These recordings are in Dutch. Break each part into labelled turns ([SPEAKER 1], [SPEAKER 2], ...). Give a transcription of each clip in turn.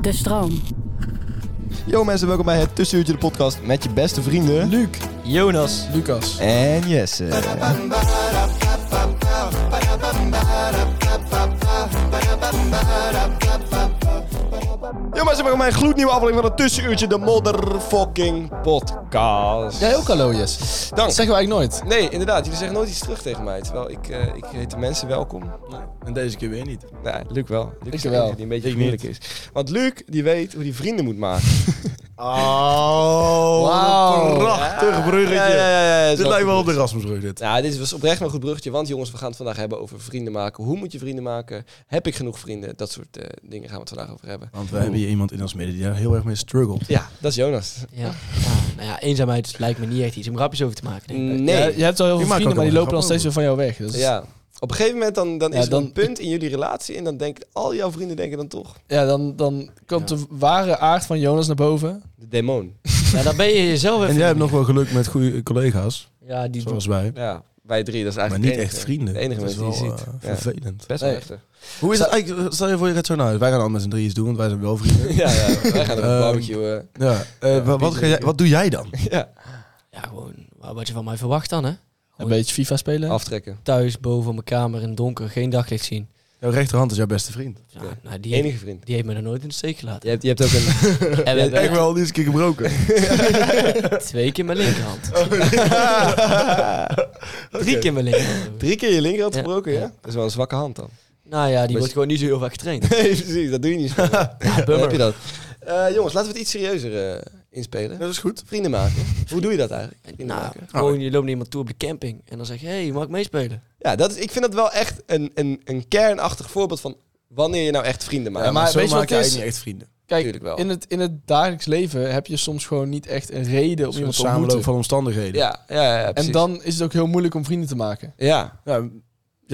[SPEAKER 1] De stroom.
[SPEAKER 2] Yo mensen, welkom bij het Tussenuurtje de podcast met je beste vrienden... Luc, Jonas
[SPEAKER 3] Lucas.
[SPEAKER 2] en Jesse. Yo mensen, welkom bij een gloednieuwe aflevering van het Tussenuurtje de motherfucking podcast.
[SPEAKER 3] Jij ook hallo, Jess.
[SPEAKER 2] Dank.
[SPEAKER 3] Dat zeggen we eigenlijk nooit.
[SPEAKER 2] Nee, inderdaad, jullie zeggen nooit iets terug tegen mij, terwijl ik, eh, ik heet de mensen welkom.
[SPEAKER 4] En deze keer weer niet.
[SPEAKER 2] Nee, Luc wel. Luc is de
[SPEAKER 3] wel.
[SPEAKER 2] enige die een beetje
[SPEAKER 4] Ik
[SPEAKER 2] vriendelijk is. Want Luc, die weet hoe hij vrienden moet maken.
[SPEAKER 4] Oh,
[SPEAKER 2] Wauw.
[SPEAKER 4] prachtig bruggetje.
[SPEAKER 2] Ja, ja, ja, ja, is
[SPEAKER 4] Dit
[SPEAKER 2] wel
[SPEAKER 4] lijkt wel
[SPEAKER 2] goed.
[SPEAKER 4] op de Rasmusbrug dit.
[SPEAKER 2] Nou, dit was oprecht wel een goed bruggetje, want jongens, we gaan het vandaag hebben over vrienden maken. Hoe moet je vrienden maken? Heb ik genoeg vrienden? Dat soort eh, dingen gaan we het vandaag over hebben.
[SPEAKER 4] Want we hebben hier iemand in ons midden die daar heel erg mee struggelt.
[SPEAKER 2] Ja, dat is Jonas.
[SPEAKER 1] Ja. ja, nou ja, eenzaamheid lijkt me niet echt iets om grapjes over te maken. denk ik.
[SPEAKER 3] Ja,
[SPEAKER 2] Nee.
[SPEAKER 3] je hebt al heel
[SPEAKER 4] Je
[SPEAKER 3] veel
[SPEAKER 4] maakt ook
[SPEAKER 3] vrienden, maar
[SPEAKER 4] wel
[SPEAKER 3] die lopen dan
[SPEAKER 4] een grap
[SPEAKER 3] steeds weer van jou
[SPEAKER 4] dus-
[SPEAKER 3] weg. Dus Dat is-
[SPEAKER 2] Ja. Op een gegeven moment dan, dan
[SPEAKER 3] Ja,
[SPEAKER 2] is er een
[SPEAKER 3] dan-
[SPEAKER 2] punt in jullie relatie en dan denken al jouw vrienden denken dan toch
[SPEAKER 3] ja, dan, dan komt de ware aard van Jonas naar boven.
[SPEAKER 2] de demon.
[SPEAKER 3] Mm.
[SPEAKER 1] Ja, dan ben je jezelf even.
[SPEAKER 4] En jij hebt nog wel geluk met goede collega's,
[SPEAKER 1] Ja, die
[SPEAKER 4] zoals wij.
[SPEAKER 2] Ja, wij drie, dat is
[SPEAKER 4] Maar
[SPEAKER 2] eigenlijk
[SPEAKER 4] niet
[SPEAKER 2] de enige-
[SPEAKER 4] echt vrienden.
[SPEAKER 2] De enige
[SPEAKER 4] Dat is
[SPEAKER 2] mensen die je
[SPEAKER 4] wel
[SPEAKER 2] ziet.
[SPEAKER 4] eh,
[SPEAKER 2] Ja.
[SPEAKER 4] vervelend.
[SPEAKER 2] Best wel
[SPEAKER 3] Nee.
[SPEAKER 2] heftig.
[SPEAKER 4] Hoe is het eigenlijk? Stel je voor, je gaat zo naar huis. Wij gaan allemaal met z'n drieën doen, want wij zijn wel vrienden.
[SPEAKER 2] Ja, ja, wij gaan op een
[SPEAKER 4] Ehm,
[SPEAKER 2] barbecue. eh.
[SPEAKER 4] Ja, eh, wa- wat, ga jij, wat doe jij dan?
[SPEAKER 2] Ja,
[SPEAKER 1] Ja, gewoon wa- wat je van mij verwacht dan, hè?
[SPEAKER 3] Een beetje FIFA spelen.
[SPEAKER 2] aftrekken.
[SPEAKER 1] Thuis, boven op mijn kamer in het donker, geen daglicht zien.
[SPEAKER 4] Jouw rechterhand is jouw beste vriend.
[SPEAKER 1] Ja,
[SPEAKER 2] Ja.
[SPEAKER 1] nou, die, heeft,
[SPEAKER 2] Enige vriend.
[SPEAKER 1] die heeft me nog nooit in de steek gelaten.
[SPEAKER 2] Je hebt, je hebt ook een...
[SPEAKER 1] En we hebben
[SPEAKER 4] Echt wel, die is een keer gebroken.
[SPEAKER 1] twee keer mijn linkerhand. Drie
[SPEAKER 2] Oh, Oké.
[SPEAKER 1] keer mijn linkerhand.
[SPEAKER 2] Drie keer je linkerhand
[SPEAKER 1] Ja.
[SPEAKER 2] gebroken, ja? Dat is wel een zwakke hand dan.
[SPEAKER 1] Nou ja, die
[SPEAKER 2] Best-
[SPEAKER 1] wordt gewoon niet zo heel vaak getraind.
[SPEAKER 2] Nee, precies, dat doe je niet. zo. Dan heb je dat. Eh, jongens, laten we het iets serieuzer eh, inspelen.
[SPEAKER 4] Dat is goed.
[SPEAKER 2] Vrienden maken. Hoe doe je dat eigenlijk? Vrienden
[SPEAKER 1] Nou,
[SPEAKER 2] maken.
[SPEAKER 1] gewoon je loopt naar iemand toe op de camping en dan zeg je, hé, hey, mag ik meespelen?
[SPEAKER 2] Ja, dat is, ik vind dat wel echt een, een, een kernachtig voorbeeld van wanneer je nou echt vrienden maakt.
[SPEAKER 3] Ja, maar
[SPEAKER 4] zo
[SPEAKER 3] weet je
[SPEAKER 4] maak
[SPEAKER 3] wat
[SPEAKER 4] je
[SPEAKER 3] het
[SPEAKER 4] eigenlijk
[SPEAKER 3] is?
[SPEAKER 4] niet echt vrienden.
[SPEAKER 3] Kijk,
[SPEAKER 2] Tuurlijk wel.
[SPEAKER 3] in het, in het dagelijks leven heb je soms gewoon niet echt een reden om
[SPEAKER 4] Een
[SPEAKER 3] iemand te
[SPEAKER 4] samenloop
[SPEAKER 3] ontmoeten.
[SPEAKER 4] van omstandigheden.
[SPEAKER 2] Ja, ja, ja, precies.
[SPEAKER 3] en dan is het ook heel moeilijk om vrienden te maken.
[SPEAKER 2] Ja,
[SPEAKER 4] Ja, ja,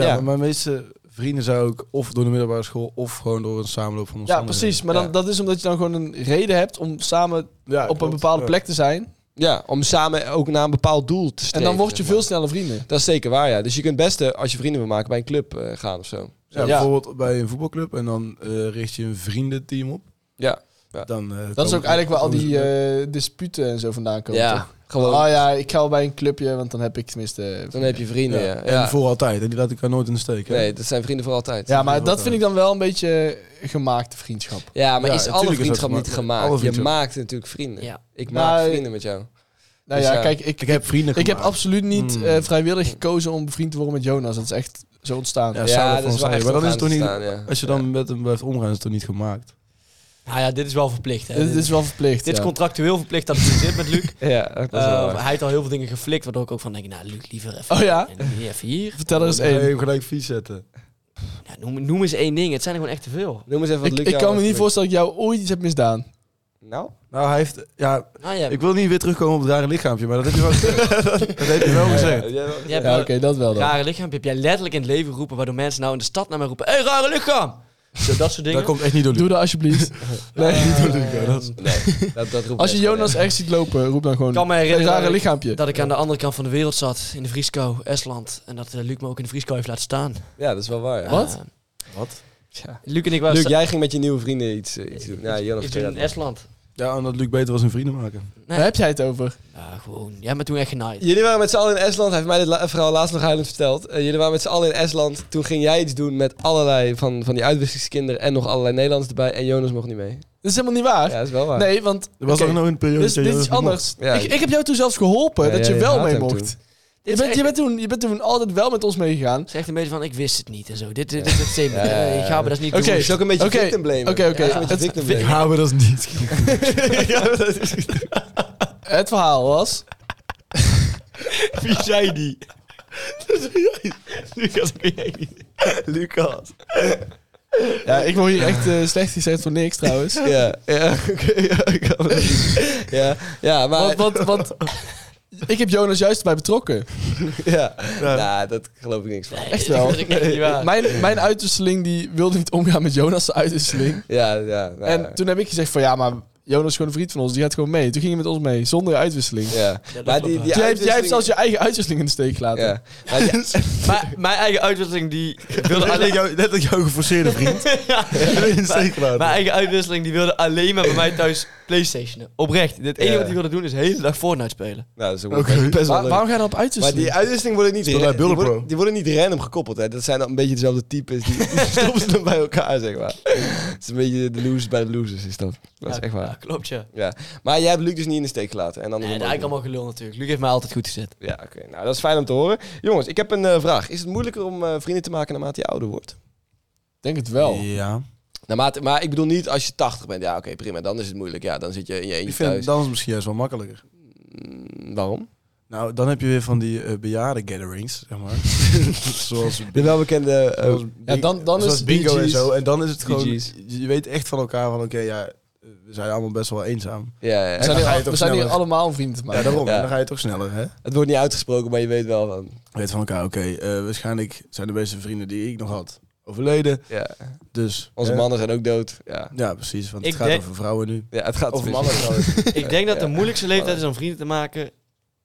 [SPEAKER 2] Ja.
[SPEAKER 4] Maar mijn meeste vrienden zijn ook of door de middelbare school of gewoon door een samenloop van
[SPEAKER 3] Ja,
[SPEAKER 4] omstandigheden.
[SPEAKER 3] precies. Maar dan,
[SPEAKER 2] Ja.
[SPEAKER 3] dat is omdat je dan gewoon een reden hebt om samen
[SPEAKER 4] Ja,
[SPEAKER 3] op een
[SPEAKER 4] klopt.
[SPEAKER 3] bepaalde
[SPEAKER 4] Ja.
[SPEAKER 3] plek te zijn.
[SPEAKER 2] ja, om samen ook naar een bepaald doel te
[SPEAKER 3] En
[SPEAKER 2] streven.
[SPEAKER 3] dan word je
[SPEAKER 2] zeg maar.
[SPEAKER 3] veel sneller vrienden.
[SPEAKER 2] Dat is zeker waar, ja. Dus je kunt het beste, als je vrienden wil maken, bij een club eh, gaan of zo.
[SPEAKER 4] Ja,
[SPEAKER 3] Ja.
[SPEAKER 4] bijvoorbeeld bij een voetbalclub en dan eh, richt je een vriendenteam op.
[SPEAKER 2] Ja.
[SPEAKER 4] Dan, eh,
[SPEAKER 3] Dat is
[SPEAKER 4] komen-
[SPEAKER 3] ook eigenlijk waar al
[SPEAKER 4] komen
[SPEAKER 3] die
[SPEAKER 4] ze-
[SPEAKER 3] eh, disputen en zo vandaan komen.
[SPEAKER 2] Ja,
[SPEAKER 3] toch?
[SPEAKER 2] gewoon.
[SPEAKER 4] Ah,
[SPEAKER 3] Oh ja, ik ga bij een clubje, want dan heb ik tenminste...
[SPEAKER 2] Dan heb je vrienden, ja.
[SPEAKER 4] En
[SPEAKER 2] Ja.
[SPEAKER 4] voor altijd. En die laat ik daar nooit in de steek. hè?
[SPEAKER 2] Nee, dat zijn vrienden voor altijd.
[SPEAKER 3] Ja, maar dat
[SPEAKER 4] altijd.
[SPEAKER 3] vind ik dan wel een beetje eh, gemaakte vriendschap.
[SPEAKER 2] Ja, maar
[SPEAKER 4] Ja,
[SPEAKER 2] is alle
[SPEAKER 4] natuurlijk is dat
[SPEAKER 2] vriendschap niet
[SPEAKER 4] gemaakt.
[SPEAKER 2] gemaakt?
[SPEAKER 4] Alle
[SPEAKER 2] Je
[SPEAKER 4] vriendschap.
[SPEAKER 2] maakt natuurlijk vrienden.
[SPEAKER 1] Ja.
[SPEAKER 2] Ik
[SPEAKER 3] Nou,
[SPEAKER 2] maak
[SPEAKER 3] eh,
[SPEAKER 2] vrienden met jou.
[SPEAKER 3] Nou
[SPEAKER 2] Dus
[SPEAKER 3] ja,
[SPEAKER 2] ja,
[SPEAKER 3] kijk, ik,
[SPEAKER 4] Ik heb vrienden
[SPEAKER 3] ik heb
[SPEAKER 4] gemaakt.
[SPEAKER 3] absoluut niet
[SPEAKER 4] Mm.
[SPEAKER 3] eh, vrijwillig gekozen om vriend te worden met Jonas. Dat is echt zo ontstaan.
[SPEAKER 4] Ja, samen voor ons eigen. Maar dan is het toch niet...
[SPEAKER 2] ontstaan, ja.
[SPEAKER 4] Als je dan met hem blijft omgaan, is het toch niet gemaakt?
[SPEAKER 1] Nou ja, dit is wel verplicht. Hè?
[SPEAKER 3] Dit, dit is wel verplicht.
[SPEAKER 1] dit is
[SPEAKER 3] ja.
[SPEAKER 1] contractueel verplicht dat het hier zit met Luc.
[SPEAKER 2] Ja, dat is wel
[SPEAKER 1] Eh,
[SPEAKER 2] waar.
[SPEAKER 1] hij heeft al heel veel dingen geflikt, waardoor ik ook van denk, nou Luc, liever even,
[SPEAKER 3] Oh ja?
[SPEAKER 1] even hier.
[SPEAKER 3] Vertel er eens
[SPEAKER 4] Nee,
[SPEAKER 3] één.
[SPEAKER 4] hem gelijk vies zetten.
[SPEAKER 1] Ja, noem, noem eens één ding, het zijn er gewoon echt te veel.
[SPEAKER 2] Noem eens even wat
[SPEAKER 3] Ik,
[SPEAKER 2] Luc
[SPEAKER 3] ik
[SPEAKER 2] jou
[SPEAKER 3] kan me
[SPEAKER 2] heeft
[SPEAKER 3] niet
[SPEAKER 2] gelukt.
[SPEAKER 3] voorstellen dat ik jou ooit iets heb misdaan.
[SPEAKER 2] Nou?
[SPEAKER 4] Nou, hij heeft... Ja,
[SPEAKER 2] Ah,
[SPEAKER 1] Nou ja,
[SPEAKER 4] ik wil niet weer terugkomen op het rare lichaampje, maar dat heb je wel gezegd. dat heb je wel gezegd.
[SPEAKER 1] jij hebt
[SPEAKER 3] Ja,
[SPEAKER 1] wel
[SPEAKER 3] oké, dat wel
[SPEAKER 1] een
[SPEAKER 3] dan.
[SPEAKER 1] rare lichaam heb jij letterlijk in het leven geroepen, waardoor mensen nou in de stad naar mij roepen, hé, hey, rare lichaam! Zo, dat soort dingen.
[SPEAKER 4] Dat komt echt niet door Luc.
[SPEAKER 3] Doe dat alsjeblieft. Nee.
[SPEAKER 4] Niet door Luc, ja, dat is-
[SPEAKER 2] Nee, dat, dat roept
[SPEAKER 3] Als je
[SPEAKER 2] best wel,
[SPEAKER 3] Jonas
[SPEAKER 2] ja.
[SPEAKER 3] echt ziet lopen, roep dan gewoon
[SPEAKER 1] kan me
[SPEAKER 3] een
[SPEAKER 1] herinneren
[SPEAKER 3] rare
[SPEAKER 1] dat ik-
[SPEAKER 3] lichaampje.
[SPEAKER 1] dat ik aan de andere kant van de wereld zat, in de Vrieskou, Estland. En dat eh, Luc me ook in de Vrieskou heeft laten staan.
[SPEAKER 2] Ja, dat is wel waar. ja.
[SPEAKER 3] Wat?
[SPEAKER 1] Eh,
[SPEAKER 2] Wat? Ja.
[SPEAKER 1] Luc en ik waren
[SPEAKER 2] Luc,
[SPEAKER 1] sa-
[SPEAKER 2] jij ging met je nieuwe vrienden iets, eh, iets doen. Ja, Jonas
[SPEAKER 1] ik
[SPEAKER 2] vertel
[SPEAKER 1] toen in
[SPEAKER 2] dat
[SPEAKER 1] Estland.
[SPEAKER 4] Ja, en dat Luc beter was zijn vrienden maken.
[SPEAKER 1] Nee.
[SPEAKER 3] Waar heb jij het over?
[SPEAKER 1] Ja, gewoon. Jij bent toen echt genaaid.
[SPEAKER 2] Jullie waren met z'n allen in Estland. Hij heeft mij dit la- eh, verhaal laatst nog huilend verteld. Eh, jullie waren met z'n allen in Estland. Toen ging jij iets doen met allerlei van, van die uitwisselingskinderen en nog allerlei Nederlands erbij. En Jonas mocht niet mee.
[SPEAKER 3] Dat is helemaal niet waar.
[SPEAKER 2] Ja, dat is wel waar.
[SPEAKER 3] Nee, want...
[SPEAKER 4] Er was
[SPEAKER 3] oké,
[SPEAKER 4] ook nog een periode.
[SPEAKER 3] dit, is-
[SPEAKER 4] dat
[SPEAKER 3] dit is
[SPEAKER 4] Jonas mocht.
[SPEAKER 3] anders.
[SPEAKER 2] Ja.
[SPEAKER 3] ik, ik heb jou toen zelfs geholpen
[SPEAKER 2] Ja,
[SPEAKER 3] dat
[SPEAKER 2] ja,
[SPEAKER 3] je
[SPEAKER 2] je
[SPEAKER 3] wel
[SPEAKER 2] haat
[SPEAKER 3] mee
[SPEAKER 2] hem
[SPEAKER 3] mocht.
[SPEAKER 2] toen.
[SPEAKER 3] Je
[SPEAKER 1] is
[SPEAKER 3] bent, je,
[SPEAKER 1] echt-
[SPEAKER 3] bent toen, je bent toen altijd wel met ons meegegaan.
[SPEAKER 1] Zegt een beetje van, ik wist het niet en zo. Dit, dit is het simpel.
[SPEAKER 2] Ja, ja, ja.
[SPEAKER 1] Ik ga me dat niet
[SPEAKER 3] Oké.
[SPEAKER 2] Het is Dus ook een beetje
[SPEAKER 3] Oké,
[SPEAKER 2] victim blamen.
[SPEAKER 3] oké,
[SPEAKER 2] Het
[SPEAKER 3] oké.
[SPEAKER 2] is een beetje
[SPEAKER 3] Het-
[SPEAKER 2] victim
[SPEAKER 4] Ik
[SPEAKER 2] blamen.
[SPEAKER 4] haal me dat is niet.
[SPEAKER 3] Het verhaal was...
[SPEAKER 4] Wie zei die? Lucas, ben jij niet. Lucas.
[SPEAKER 3] Ja, ik word hier echt eh, slecht gezegd voor niks trouwens.
[SPEAKER 2] Ja, ja, oké, ja, ik kan het niet. ja, ja, maar...
[SPEAKER 3] Want, want, want ik heb Jonas juist erbij betrokken.
[SPEAKER 2] Ja, nou, dat geloof ik niks van.
[SPEAKER 3] Echt wel.
[SPEAKER 1] Dat is echt niet waar.
[SPEAKER 3] Mijn, mijn uitwisseling die wilde niet omgaan met Jonas' uitwisseling.
[SPEAKER 2] Ja, ja. nou,
[SPEAKER 3] En toen heb ik gezegd van ja, maar Jonas is gewoon een vriend van ons. Die gaat gewoon mee. Toen ging hij met ons mee, zonder uitwisseling.
[SPEAKER 2] Ja. Maar die, die
[SPEAKER 3] Jij, hebt, jij hebt
[SPEAKER 2] uitwisseling-
[SPEAKER 3] zelfs je eigen uitwisseling in de steek gelaten.
[SPEAKER 2] Ja. Maar die-
[SPEAKER 1] Maar mijn eigen uitwisseling die wilde
[SPEAKER 4] Net dat
[SPEAKER 1] alleen...
[SPEAKER 4] jou- net dat jouw geforceerde vriend. in steek laten.
[SPEAKER 1] Mijn eigen uitwisseling die wilde alleen maar bij mij thuis Playstationen. Oprecht. Het enige
[SPEAKER 2] Ja.
[SPEAKER 1] wat hij wilde doen is de hele dag Fortnite spelen.
[SPEAKER 2] nou, dat is ook
[SPEAKER 4] Oké.
[SPEAKER 2] best wel
[SPEAKER 3] Waar-
[SPEAKER 2] leuk.
[SPEAKER 3] waarom ga je dan op
[SPEAKER 2] Maar
[SPEAKER 3] uitwisseling?
[SPEAKER 2] die uitwisseling worden niet,
[SPEAKER 4] Speel bij
[SPEAKER 2] ra- die
[SPEAKER 4] Bullenpro.
[SPEAKER 2] worden, die worden niet random gekoppeld. Hè. Dat zijn dan een beetje dezelfde types. Die, die stoppen ze dan bij elkaar, zeg maar. Het is een beetje de losers bij de losers, is dat. Dat is
[SPEAKER 1] Ja,
[SPEAKER 2] echt
[SPEAKER 1] ja,
[SPEAKER 2] waar.
[SPEAKER 1] klopt, ja.
[SPEAKER 2] Ja. Maar jij hebt Luc dus niet in de steek gelaten. En
[SPEAKER 1] Nee,
[SPEAKER 2] andersom
[SPEAKER 1] dat is
[SPEAKER 2] ook niet.
[SPEAKER 1] eigenlijk allemaal gelul natuurlijk. Luc heeft mij altijd goed gezet.
[SPEAKER 2] Ja, oké. Nou, dat is fijn om te horen. Jongens, ik heb een eh, vraag. Is het moeilijker om eh, vrienden te maken naarmate je ouder wordt?
[SPEAKER 3] Ik denk het wel.
[SPEAKER 4] Ja.
[SPEAKER 2] Naarmate, maar ik bedoel niet als je 80 bent. Ja, oké, prima. Dan is het moeilijk. Ja, dan zit je in je
[SPEAKER 4] Ik
[SPEAKER 2] eentje
[SPEAKER 4] vind
[SPEAKER 2] thuis.
[SPEAKER 4] dans misschien juist wel makkelijker.
[SPEAKER 2] Mm, waarom?
[SPEAKER 4] Nou, dan heb je weer van die eh bejaarden gatherings, zeg maar. Zoals
[SPEAKER 2] De welbekende... eh,
[SPEAKER 4] Zoals
[SPEAKER 3] Ja, dan, dan is
[SPEAKER 4] Zoals
[SPEAKER 3] het
[SPEAKER 4] bingo en zo. En dan is het
[SPEAKER 2] Bee
[SPEAKER 4] gewoon...
[SPEAKER 2] Gees.
[SPEAKER 4] Je je weet echt van elkaar van... Oké, ja, we zijn allemaal best wel eenzaam.
[SPEAKER 2] ja, ja,
[SPEAKER 3] We zijn
[SPEAKER 4] Dan ga je
[SPEAKER 3] hier,
[SPEAKER 4] toch
[SPEAKER 3] we zijn hier
[SPEAKER 4] sneller.
[SPEAKER 3] allemaal om vrienden te
[SPEAKER 4] Ja,
[SPEAKER 3] maken.
[SPEAKER 4] daarom.
[SPEAKER 2] Ja.
[SPEAKER 4] Dan ga je toch sneller, hè?
[SPEAKER 2] Het wordt niet uitgesproken, maar je weet wel van...
[SPEAKER 4] Je weet van elkaar, oké, eh, waarschijnlijk zijn de beste vrienden die ik nog had overleden.
[SPEAKER 2] Ja,
[SPEAKER 4] Dus...
[SPEAKER 2] onze
[SPEAKER 4] hè?
[SPEAKER 2] mannen zijn ook dood. Ja,
[SPEAKER 4] Ja, precies. Want
[SPEAKER 1] Ik
[SPEAKER 4] het gaat
[SPEAKER 1] denk-
[SPEAKER 4] over vrouwen nu.
[SPEAKER 2] ja het gaat
[SPEAKER 4] Over
[SPEAKER 2] mis.
[SPEAKER 4] mannen trouwens.
[SPEAKER 1] Ik denk dat de
[SPEAKER 2] Ja.
[SPEAKER 1] moeilijkste leeftijd is om vrienden te maken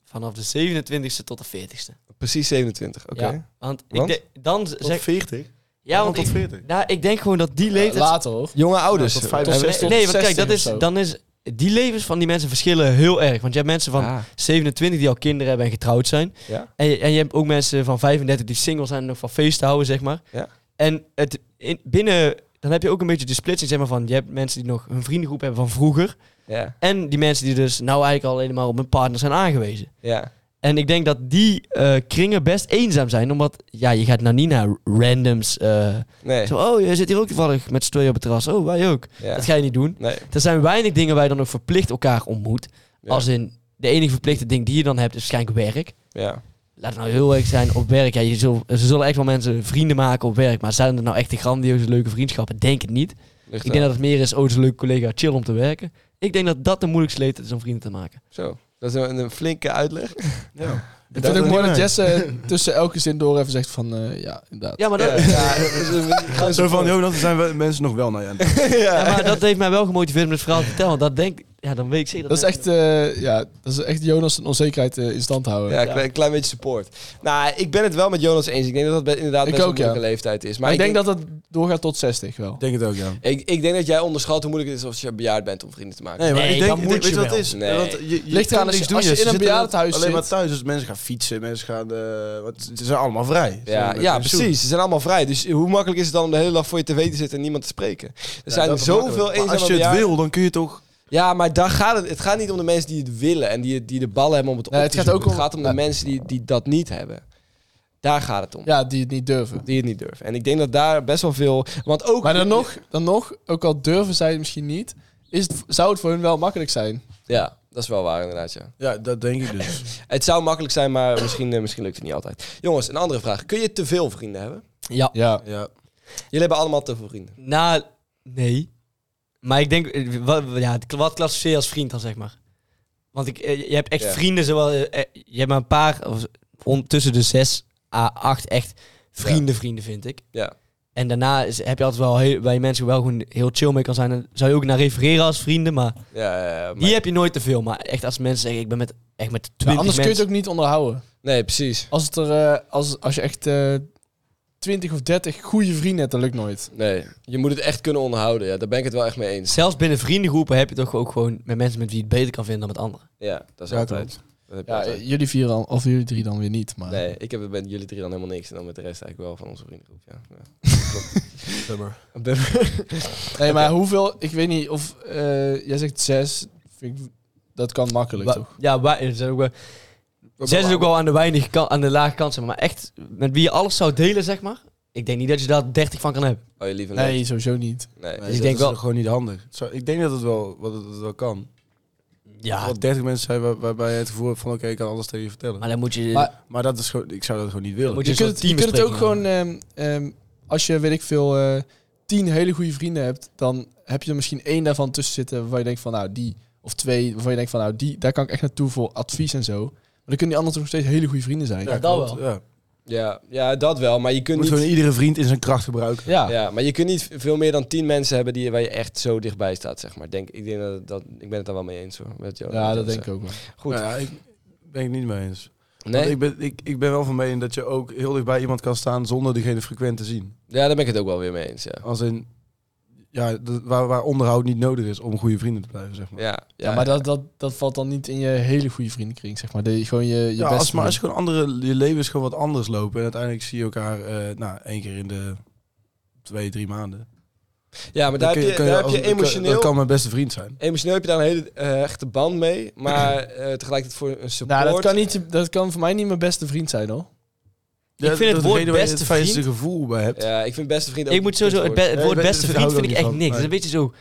[SPEAKER 1] vanaf de 27ste tot de 40ste.
[SPEAKER 2] Precies 27, oké.
[SPEAKER 1] Ja, want ik
[SPEAKER 2] Want?
[SPEAKER 1] denk- dan z-
[SPEAKER 4] Tot
[SPEAKER 1] zeg
[SPEAKER 4] 40?
[SPEAKER 1] ja, want
[SPEAKER 4] tot
[SPEAKER 1] ik,
[SPEAKER 4] 40?
[SPEAKER 1] nou, ik denk gewoon dat die leeftijd.
[SPEAKER 3] Later hoor.
[SPEAKER 2] Jonge ouders.
[SPEAKER 4] Ja, tot vijf-
[SPEAKER 3] Tot
[SPEAKER 4] Hebben-
[SPEAKER 3] zes-
[SPEAKER 1] nee,
[SPEAKER 3] tot
[SPEAKER 1] nee, want kijk,
[SPEAKER 3] 16
[SPEAKER 1] dat is,
[SPEAKER 3] of zo.
[SPEAKER 1] dan is die levens van die mensen verschillen heel erg. Want je hebt mensen van
[SPEAKER 2] Ah,
[SPEAKER 1] 27 die al kinderen hebben en getrouwd zijn.
[SPEAKER 2] ja.
[SPEAKER 1] En je, en je hebt ook mensen van 35 die single zijn en nog van feesten houden, zeg maar.
[SPEAKER 2] Ja.
[SPEAKER 1] En het, in, binnen, dan heb je ook een beetje de splitsing, zeg maar, van je hebt mensen die nog hun vriendengroep hebben van vroeger.
[SPEAKER 2] ja,
[SPEAKER 1] En die mensen die dus nou eigenlijk al helemaal op hun partner zijn aangewezen.
[SPEAKER 2] ja.
[SPEAKER 1] En ik denk dat die eh, kringen best eenzaam zijn. Omdat, ja, je gaat nou niet naar randoms. eh,
[SPEAKER 2] Nee,
[SPEAKER 1] zo, oh, je zit hier ook toevallig met z'n tweeën op het terras. Oh, wij ook.
[SPEAKER 2] ja.
[SPEAKER 1] Dat ga je niet doen.
[SPEAKER 2] Nee,
[SPEAKER 1] Er zijn weinig dingen waar je dan ook verplicht elkaar ontmoet.
[SPEAKER 2] Ja.
[SPEAKER 1] Als in, de enige verplichte ding die je dan hebt is waarschijnlijk werk.
[SPEAKER 2] ja.
[SPEAKER 1] Laat het nou heel erg zijn op werk. Ja, je zul, ze zullen echt wel mensen vrienden maken op werk. Maar zijn er nou echt de grandioze leuke vriendschappen? Denk het niet.
[SPEAKER 2] Ligt
[SPEAKER 1] Ik denk dat het meer is, oh, het is een leuke collega, chill om te werken. Ik denk dat dat de moeilijkste leeftijd is om vrienden te maken.
[SPEAKER 2] Zo, dat is een, een flinke uitleg.
[SPEAKER 3] Ik
[SPEAKER 4] Dat
[SPEAKER 3] vind het ook
[SPEAKER 4] nog
[SPEAKER 3] mooi
[SPEAKER 4] niet
[SPEAKER 3] dat
[SPEAKER 4] mee.
[SPEAKER 3] Jesse tussen elke zin door even zegt van eh, ja, inderdaad.
[SPEAKER 1] Ja, maar dat,
[SPEAKER 2] Ja, ja, dat is een- gewoon
[SPEAKER 4] Zo van,
[SPEAKER 2] support.
[SPEAKER 4] joh, dan zijn we, mensen nog wel naar je aan het-
[SPEAKER 1] Ja, maar dat heeft mij wel gemotiveerd om het verhaal te vertellen. Want dat denk ja, dan weet ik zeker
[SPEAKER 3] Dat is echt, eh, ja, dat is echt Jonas een onzekerheid eh, in stand houden.
[SPEAKER 2] Ja, een klein, klein beetje support. Nou, ik ben het wel met Jonas eens. Ik denk dat dat be- inderdaad
[SPEAKER 3] Ik
[SPEAKER 2] best een
[SPEAKER 3] ook, ja.
[SPEAKER 2] moeilijke leeftijd is.
[SPEAKER 3] maar ik denk
[SPEAKER 2] dat...
[SPEAKER 3] dat dat doorgaat tot 60 wel.
[SPEAKER 4] Ik denk het ook, ja.
[SPEAKER 2] Ik, ik denk dat jij onderschat hoe moeilijk het is als je bejaard bent om vrienden te maken.
[SPEAKER 4] Nee, maar
[SPEAKER 1] Nee,
[SPEAKER 4] ik denk,
[SPEAKER 1] dan moet
[SPEAKER 4] weet je
[SPEAKER 1] je
[SPEAKER 4] wat het
[SPEAKER 1] wel.
[SPEAKER 4] is?
[SPEAKER 2] Nee.
[SPEAKER 4] Want je, je
[SPEAKER 3] Ligt eraan
[SPEAKER 4] kan
[SPEAKER 3] als je-
[SPEAKER 4] niks doen,
[SPEAKER 3] als je
[SPEAKER 4] zit
[SPEAKER 3] in een
[SPEAKER 4] inderdaad
[SPEAKER 3] bejaardentehuis
[SPEAKER 4] Alleen maar
[SPEAKER 3] zit.
[SPEAKER 4] thuis, dus mensen gaan fietsen, mensen gaan... eh wat, ze zijn allemaal vrij. Ze
[SPEAKER 2] Ja,
[SPEAKER 4] zijn
[SPEAKER 2] ja,
[SPEAKER 4] met pensioen.
[SPEAKER 2] precies. Ze zijn allemaal vrij. Dus hoe makkelijk is het dan om de hele dag voor je tv te zitten en niemand te spreken? Er
[SPEAKER 4] Ja,
[SPEAKER 2] zijn
[SPEAKER 4] dat is
[SPEAKER 2] zoveel
[SPEAKER 4] makkelijk. Maar
[SPEAKER 2] eenzame
[SPEAKER 4] Als je het
[SPEAKER 2] bejaarden.
[SPEAKER 4] wil, dan kun je toch...
[SPEAKER 2] Ja, maar daar gaat het. Het gaat niet om de mensen die het willen en die, het- die de ballen hebben om het
[SPEAKER 3] Nee,
[SPEAKER 2] op
[SPEAKER 3] het
[SPEAKER 2] te
[SPEAKER 3] gaat
[SPEAKER 2] zoeken.
[SPEAKER 3] ook om-
[SPEAKER 2] Het gaat om de
[SPEAKER 3] Ja.
[SPEAKER 2] mensen die, die dat niet hebben. Daar gaat het om.
[SPEAKER 3] Ja, die het niet durven.
[SPEAKER 2] Die het niet durven. En ik denk dat daar best wel veel... Want ook...
[SPEAKER 3] Maar dan nog, dan nog, ook al durven zij het misschien niet, is het, zou het voor hun wel makkelijk zijn.
[SPEAKER 2] Ja, dat is wel waar inderdaad, ja.
[SPEAKER 4] Ja, dat denk ik dus.
[SPEAKER 2] Het zou makkelijk zijn, maar misschien, eh, misschien lukt het niet altijd. Jongens, een andere vraag. Kun je te veel vrienden hebben?
[SPEAKER 1] Ja,
[SPEAKER 3] Ja.
[SPEAKER 4] ja.
[SPEAKER 2] Jullie hebben allemaal te veel vrienden.
[SPEAKER 1] nou, nee. Maar ik denk, eh, wat, ja, wat klassificeer je als vriend dan, zeg maar? Want ik, eh, je hebt echt
[SPEAKER 2] Ja.
[SPEAKER 1] vrienden, zowel, eh, eh, je hebt maar een paar, of, on- tussen de zes à acht echt vrienden, vrienden, vind ik.
[SPEAKER 2] Ja.
[SPEAKER 1] En daarna is- heb je altijd wel heel, bij mensen wel gewoon heel chill mee kan zijn. En zou je ook naar refereren als vrienden, maar
[SPEAKER 2] Ja, ja, ja, maar-
[SPEAKER 1] die heb je nooit te veel. Maar echt als mensen zeggen, ik ben met, echt met twintig
[SPEAKER 3] anders kun je
[SPEAKER 1] mensen.
[SPEAKER 3] het ook niet onderhouden.
[SPEAKER 2] Nee, precies.
[SPEAKER 3] Als, het er, eh, als, als je echt eh, 20 of 30 goede vrienden hebt, dat lukt nooit.
[SPEAKER 2] Nee, je moet het echt kunnen onderhouden. Ja, daar ben ik het wel echt mee eens.
[SPEAKER 1] Zelfs binnen vriendengroepen heb je toch ook gewoon met mensen met wie je het beter kan vinden dan met anderen.
[SPEAKER 2] Ja, dat is
[SPEAKER 3] Ja,
[SPEAKER 2] altijd.
[SPEAKER 3] klopt.
[SPEAKER 2] Dat heb je
[SPEAKER 3] Ja,
[SPEAKER 2] altijd.
[SPEAKER 3] jullie vier dan, of jullie drie dan weer niet. Maar
[SPEAKER 2] Nee, ik heb het met jullie drie dan helemaal niks. En dan met de rest eigenlijk wel van onze vriendengroep. Ja.
[SPEAKER 4] Bummer.
[SPEAKER 2] Ja. Bummer.
[SPEAKER 3] Nee, maar hoeveel, ik weet niet of, eh, jij zegt zes, vind ik- dat kan makkelijk
[SPEAKER 1] Wa-
[SPEAKER 3] toch?
[SPEAKER 1] Ja, wij er zijn ook wel, zij is ook wel aan de, weinig kan, aan de lage kant, zeg maar. maar echt met wie je alles zou delen, zeg maar. Ik denk niet dat je daar 30 van kan hebben.
[SPEAKER 2] Oh, je lieve
[SPEAKER 3] Nee, sowieso niet.
[SPEAKER 2] nee.
[SPEAKER 4] Nee,
[SPEAKER 1] Dus ik
[SPEAKER 4] dat
[SPEAKER 1] denk
[SPEAKER 4] is
[SPEAKER 1] wel-
[SPEAKER 4] gewoon niet handig. Zo, ik denk dat het wel, wat het, dat het wel kan.
[SPEAKER 1] Ja,
[SPEAKER 4] Wat 30 mensen zijn waar- waarbij je het gevoel hebt van oké, ik kan alles tegen je vertellen.
[SPEAKER 1] maar
[SPEAKER 4] Maar,
[SPEAKER 1] dan moet je...
[SPEAKER 3] Maar-
[SPEAKER 4] dat is gewoon, ik zou dat gewoon niet willen. Dus-
[SPEAKER 1] Moet
[SPEAKER 3] Je,
[SPEAKER 1] een
[SPEAKER 3] kunt,
[SPEAKER 1] soort
[SPEAKER 3] het- je kunt het ook gewoon,
[SPEAKER 1] teambespreking
[SPEAKER 3] ehm, ehm, als je, weet ik veel, eh, tien hele goede vrienden hebt, dan heb je er misschien één daarvan tussen zitten waarvan je denkt van, nou, die, of twee, waarvan je denkt van, nou, die, daar kan ik echt naartoe voor advies en zo. Maar dan kunnen die anderen toch nog steeds hele goede vrienden zijn.
[SPEAKER 1] dat
[SPEAKER 4] klopt,
[SPEAKER 1] wel.
[SPEAKER 4] Ja. Je
[SPEAKER 2] Ja, ja, dat wel. Maar je kunt
[SPEAKER 4] moet
[SPEAKER 2] niet...
[SPEAKER 4] gewoon iedere vriend in zijn kracht gebruiken.
[SPEAKER 3] Ja.
[SPEAKER 2] Ja, maar je kunt niet veel meer dan tien mensen hebben die, waar je echt zo dichtbij staat, zeg maar. Denk, ik, denk dat, dat, ik ben het daar wel mee eens hoor. Met jou,
[SPEAKER 3] Ja, dat denk ik ook wel.
[SPEAKER 2] Goed.
[SPEAKER 4] Nou ja, ik ben ik niet mee eens.
[SPEAKER 2] Nee,
[SPEAKER 4] Want ik, ben, ik, ik ben wel van mening dat je ook heel dichtbij iemand kan staan zonder diegene frequent te zien.
[SPEAKER 2] ja, daar ben ik het ook wel weer mee eens, ja.
[SPEAKER 4] Als in, ja, dat- waar, waar onderhoud niet nodig is om goede vrienden te blijven, zeg maar.
[SPEAKER 2] Ja,
[SPEAKER 3] Ja, maar dat, dat, dat valt dan niet in je hele goede vriendenkring, zeg maar. De, gewoon je, je
[SPEAKER 4] Ja,
[SPEAKER 3] beste
[SPEAKER 4] als, maar als je
[SPEAKER 3] vrienden.
[SPEAKER 4] gewoon andere, je leven is gewoon wat anders lopen. En uiteindelijk zie je elkaar, eh, nou, één keer in de twee, drie maanden.
[SPEAKER 2] ja, maar daar heb
[SPEAKER 4] Dan kun
[SPEAKER 2] je,
[SPEAKER 4] kun
[SPEAKER 2] daar heb
[SPEAKER 4] als-
[SPEAKER 2] je
[SPEAKER 4] dat kan-
[SPEAKER 2] emotioneel...
[SPEAKER 4] Dat kan mijn beste vriend zijn.
[SPEAKER 2] Emotioneel heb je daar een hele eh, echte band mee, maar eh, tegelijkertijd voor een support...
[SPEAKER 3] Nou, dat kan, niet, dat kan voor mij niet mijn beste vriend zijn, hoor.
[SPEAKER 1] vind het woord beste
[SPEAKER 4] waar je het fijnste
[SPEAKER 1] vriend-
[SPEAKER 4] gevoel bij hebt.
[SPEAKER 2] Ja, ik vind beste vriend ook
[SPEAKER 1] Ik moet sowieso... Het, be-
[SPEAKER 2] best
[SPEAKER 1] het
[SPEAKER 4] Nee,
[SPEAKER 1] woord
[SPEAKER 4] ik ben-
[SPEAKER 1] beste
[SPEAKER 4] ik
[SPEAKER 1] vriend
[SPEAKER 4] hou
[SPEAKER 1] vind
[SPEAKER 4] er
[SPEAKER 1] ik
[SPEAKER 4] ook
[SPEAKER 1] echt
[SPEAKER 4] niet
[SPEAKER 1] niks.
[SPEAKER 4] van.
[SPEAKER 1] Het is een beetje zo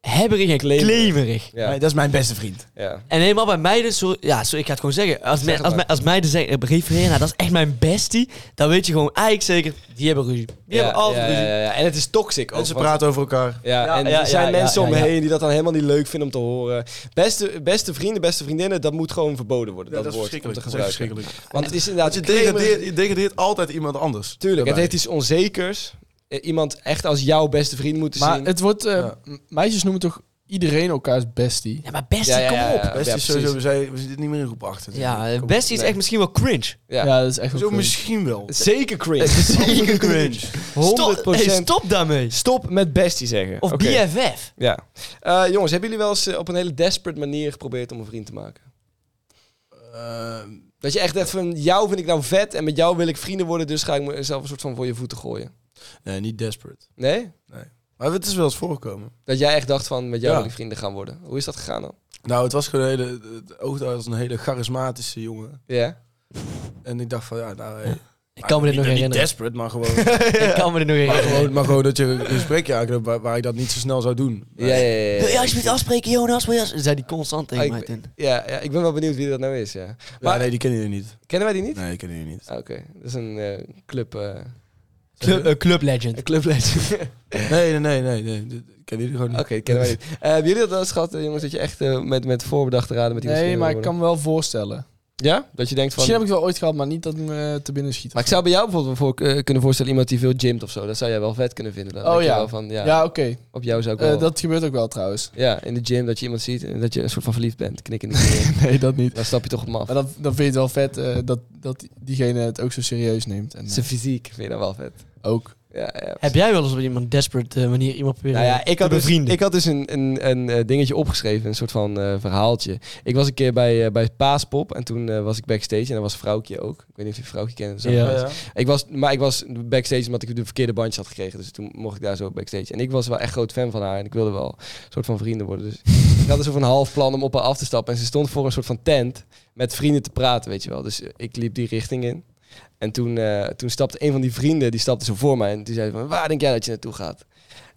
[SPEAKER 1] hebberig en
[SPEAKER 2] Klemerig.
[SPEAKER 1] klemerig.
[SPEAKER 2] Ja,
[SPEAKER 4] Nee, dat is mijn beste vriend.
[SPEAKER 2] ja.
[SPEAKER 1] En helemaal bij meiden, sorry, ja, sorry, ik ga het gewoon zeggen. Als, me-
[SPEAKER 2] Zeg het
[SPEAKER 1] als,
[SPEAKER 2] maar.
[SPEAKER 1] me- als meiden zeggen, refereren, nou, dat is echt mijn bestie. Dan weet je gewoon eigenlijk zeker, die hebben ruzie. Die
[SPEAKER 2] ja,
[SPEAKER 1] hebben altijd
[SPEAKER 2] ja,
[SPEAKER 1] ruzie.
[SPEAKER 2] ja, ja, ja. En het is toxic ook.
[SPEAKER 4] En ze
[SPEAKER 2] want-
[SPEAKER 4] praten over elkaar.
[SPEAKER 2] Ja,
[SPEAKER 1] Ja,
[SPEAKER 2] en
[SPEAKER 1] ja,
[SPEAKER 2] er zijn
[SPEAKER 1] ja, ja,
[SPEAKER 2] mensen
[SPEAKER 1] ja,
[SPEAKER 2] om me
[SPEAKER 1] ja.
[SPEAKER 2] heen die dat dan helemaal niet leuk vinden om te horen. Beste, beste vrienden, beste vriendinnen, dat moet gewoon verboden worden. dat, woord om te
[SPEAKER 4] Dat is echt
[SPEAKER 2] gebruiken.
[SPEAKER 4] verschrikkelijk.
[SPEAKER 2] Want het is inderdaad...
[SPEAKER 4] je
[SPEAKER 2] klemerig-
[SPEAKER 4] degradeert, je degradeert altijd iemand anders.
[SPEAKER 2] Tuurlijk, het
[SPEAKER 4] Daarbij.
[SPEAKER 2] heeft iets onzekers. Eh, Iemand echt als jouw beste vriend moeten
[SPEAKER 3] Maar
[SPEAKER 2] zien.
[SPEAKER 3] het wordt... eh,
[SPEAKER 4] Ja.
[SPEAKER 3] m- Meisjes noemen toch iedereen elkaars bestie?
[SPEAKER 1] Ja, maar bestie,
[SPEAKER 2] Ja, ja,
[SPEAKER 1] kom
[SPEAKER 2] ja,
[SPEAKER 1] op.
[SPEAKER 2] ja,
[SPEAKER 4] Best
[SPEAKER 2] ja,
[SPEAKER 4] is
[SPEAKER 2] precies.
[SPEAKER 4] sowieso, we, zijn, we zitten niet meer in groep 8.
[SPEAKER 1] Ja,
[SPEAKER 4] Kom op.
[SPEAKER 1] bestie is
[SPEAKER 2] nee.
[SPEAKER 1] echt misschien wel cringe.
[SPEAKER 2] Ja.
[SPEAKER 3] Ja, dat is echt ook
[SPEAKER 4] Zo
[SPEAKER 3] cringe.
[SPEAKER 4] misschien wel.
[SPEAKER 2] Zeker cringe.
[SPEAKER 1] Zeker cringe. Stop,
[SPEAKER 2] 100%.
[SPEAKER 1] hey, stop daarmee.
[SPEAKER 2] Stop met bestie zeggen.
[SPEAKER 1] Of
[SPEAKER 2] Oké.
[SPEAKER 1] BFF.
[SPEAKER 2] Ja. Eh, jongens, hebben jullie wel eens eh, op een hele desperate manier geprobeerd om een vriend te maken?
[SPEAKER 4] Eh,
[SPEAKER 2] Dat je echt denkt van, jou vind ik nou vet en met jou wil ik vrienden worden, dus ga ik mezelf een soort van voor je voeten gooien.
[SPEAKER 4] nee, niet desperate.
[SPEAKER 2] Nee?
[SPEAKER 4] Maar het is wel eens voorgekomen.
[SPEAKER 2] Dat jij echt dacht van, met jou
[SPEAKER 4] Ja.
[SPEAKER 2] wil ik vrienden gaan worden. Hoe is dat gegaan dan?
[SPEAKER 4] Nou, het was gewoon een hele, het oogde als een hele charismatische jongen.
[SPEAKER 2] Ja?
[SPEAKER 4] En ik dacht van, ja, nou... hey,
[SPEAKER 1] Ik kan me dit
[SPEAKER 4] niet-
[SPEAKER 1] nog
[SPEAKER 4] niet
[SPEAKER 1] herinneren.
[SPEAKER 4] desperate, maar gewoon,
[SPEAKER 1] Ik kan me dit
[SPEAKER 4] maar
[SPEAKER 1] nog herinneren.
[SPEAKER 4] gewoon, maar gewoon dat je een gesprekje aanknopt waar, waar ik dat niet zo snel zou doen.
[SPEAKER 2] Ja, ja, ja.
[SPEAKER 1] Wil je
[SPEAKER 2] ja.
[SPEAKER 1] alsjeblieft afspreken, Jonas? Wil je als- Zei die constant tegen
[SPEAKER 2] Ah, ik
[SPEAKER 1] mij.
[SPEAKER 2] ben-
[SPEAKER 1] toen.
[SPEAKER 2] Ja, ja, ik ben wel benieuwd wie dat nou is, ja.
[SPEAKER 4] Maar
[SPEAKER 2] Maar-
[SPEAKER 4] nee, die kennen jullie niet.
[SPEAKER 2] Kennen wij die niet?
[SPEAKER 4] Nee, die kennen jullie niet.
[SPEAKER 2] Ah, Oké, dat is een eh, club... eh
[SPEAKER 1] Club, eh, club legend.
[SPEAKER 2] een clublegend.
[SPEAKER 4] Nee, nee, nee, nee. nee. dit- ik Ken jullie gewoon niet.
[SPEAKER 2] Oké, dat kennen wij niet. Eh, hebben jullie dat wel eens gehad, eh, jongens, dat je echt eh, met, met voorbedachte raden met die
[SPEAKER 3] Nee,
[SPEAKER 2] misschien
[SPEAKER 3] maar ik
[SPEAKER 2] wil
[SPEAKER 3] kan me wel voorstellen.
[SPEAKER 2] worden? Ja? Dat je denkt van...
[SPEAKER 3] Misschien heb ik het wel ooit gehad, maar niet dat het
[SPEAKER 2] eh,
[SPEAKER 3] me te binnen schiet.
[SPEAKER 2] Maar ik zou bij jou bijvoorbeeld wel voor, eh, kunnen voorstellen iemand die veel gymt of zo. Dat zou jij wel vet kunnen vinden. Dan
[SPEAKER 3] Oh
[SPEAKER 2] denk je
[SPEAKER 3] ja.
[SPEAKER 2] wel van, ja,
[SPEAKER 3] ja, oké.
[SPEAKER 2] Op jou zou ik
[SPEAKER 3] Eh,
[SPEAKER 2] wel...
[SPEAKER 3] dat gebeurt ook wel trouwens.
[SPEAKER 2] Ja, in de gym dat je iemand ziet en dat je een soort van verliefd bent. Knik in de knieën.
[SPEAKER 3] Nee, dat niet.
[SPEAKER 2] dan stap je toch op hem af.
[SPEAKER 3] Maar dan, dan vind je het wel vet eh, dat, dat diegene het ook zo serieus neemt. En, eh,
[SPEAKER 2] Zijn fysiek vind je dan wel vet.
[SPEAKER 3] ook.
[SPEAKER 2] Ja, ja.
[SPEAKER 1] Heb jij wel eens op iemand desperate eh, manier iemand proberen
[SPEAKER 2] Nou ja, ik had
[SPEAKER 1] te
[SPEAKER 2] dus,
[SPEAKER 1] bevrienden?
[SPEAKER 2] ik had dus een, een, een eh, dingetje opgeschreven, een soort van eh, verhaaltje. Ik was een keer bij, eh, bij Paaspop en toen eh, was ik backstage en daar was een vrouwtje ook. Ik weet niet of je een vrouwtje kent. Zo.
[SPEAKER 1] Ja.
[SPEAKER 4] Ja, ja.
[SPEAKER 2] Ik was, maar ik was backstage omdat ik de verkeerde bandjes had gekregen. Dus toen mocht ik daar zo backstage. En ik was wel echt groot fan van haar. En ik wilde wel een soort van vrienden worden. Dus ik had een soort van half plan om op haar af te stappen. En ze stond voor een soort van tent met vrienden te praten, weet je wel. Dus eh, ik liep die richting in. En toen, eh, toen stapte een van die vrienden, die stapte zo voor mij. En toen zei hij van, waar denk jij dat je naartoe gaat?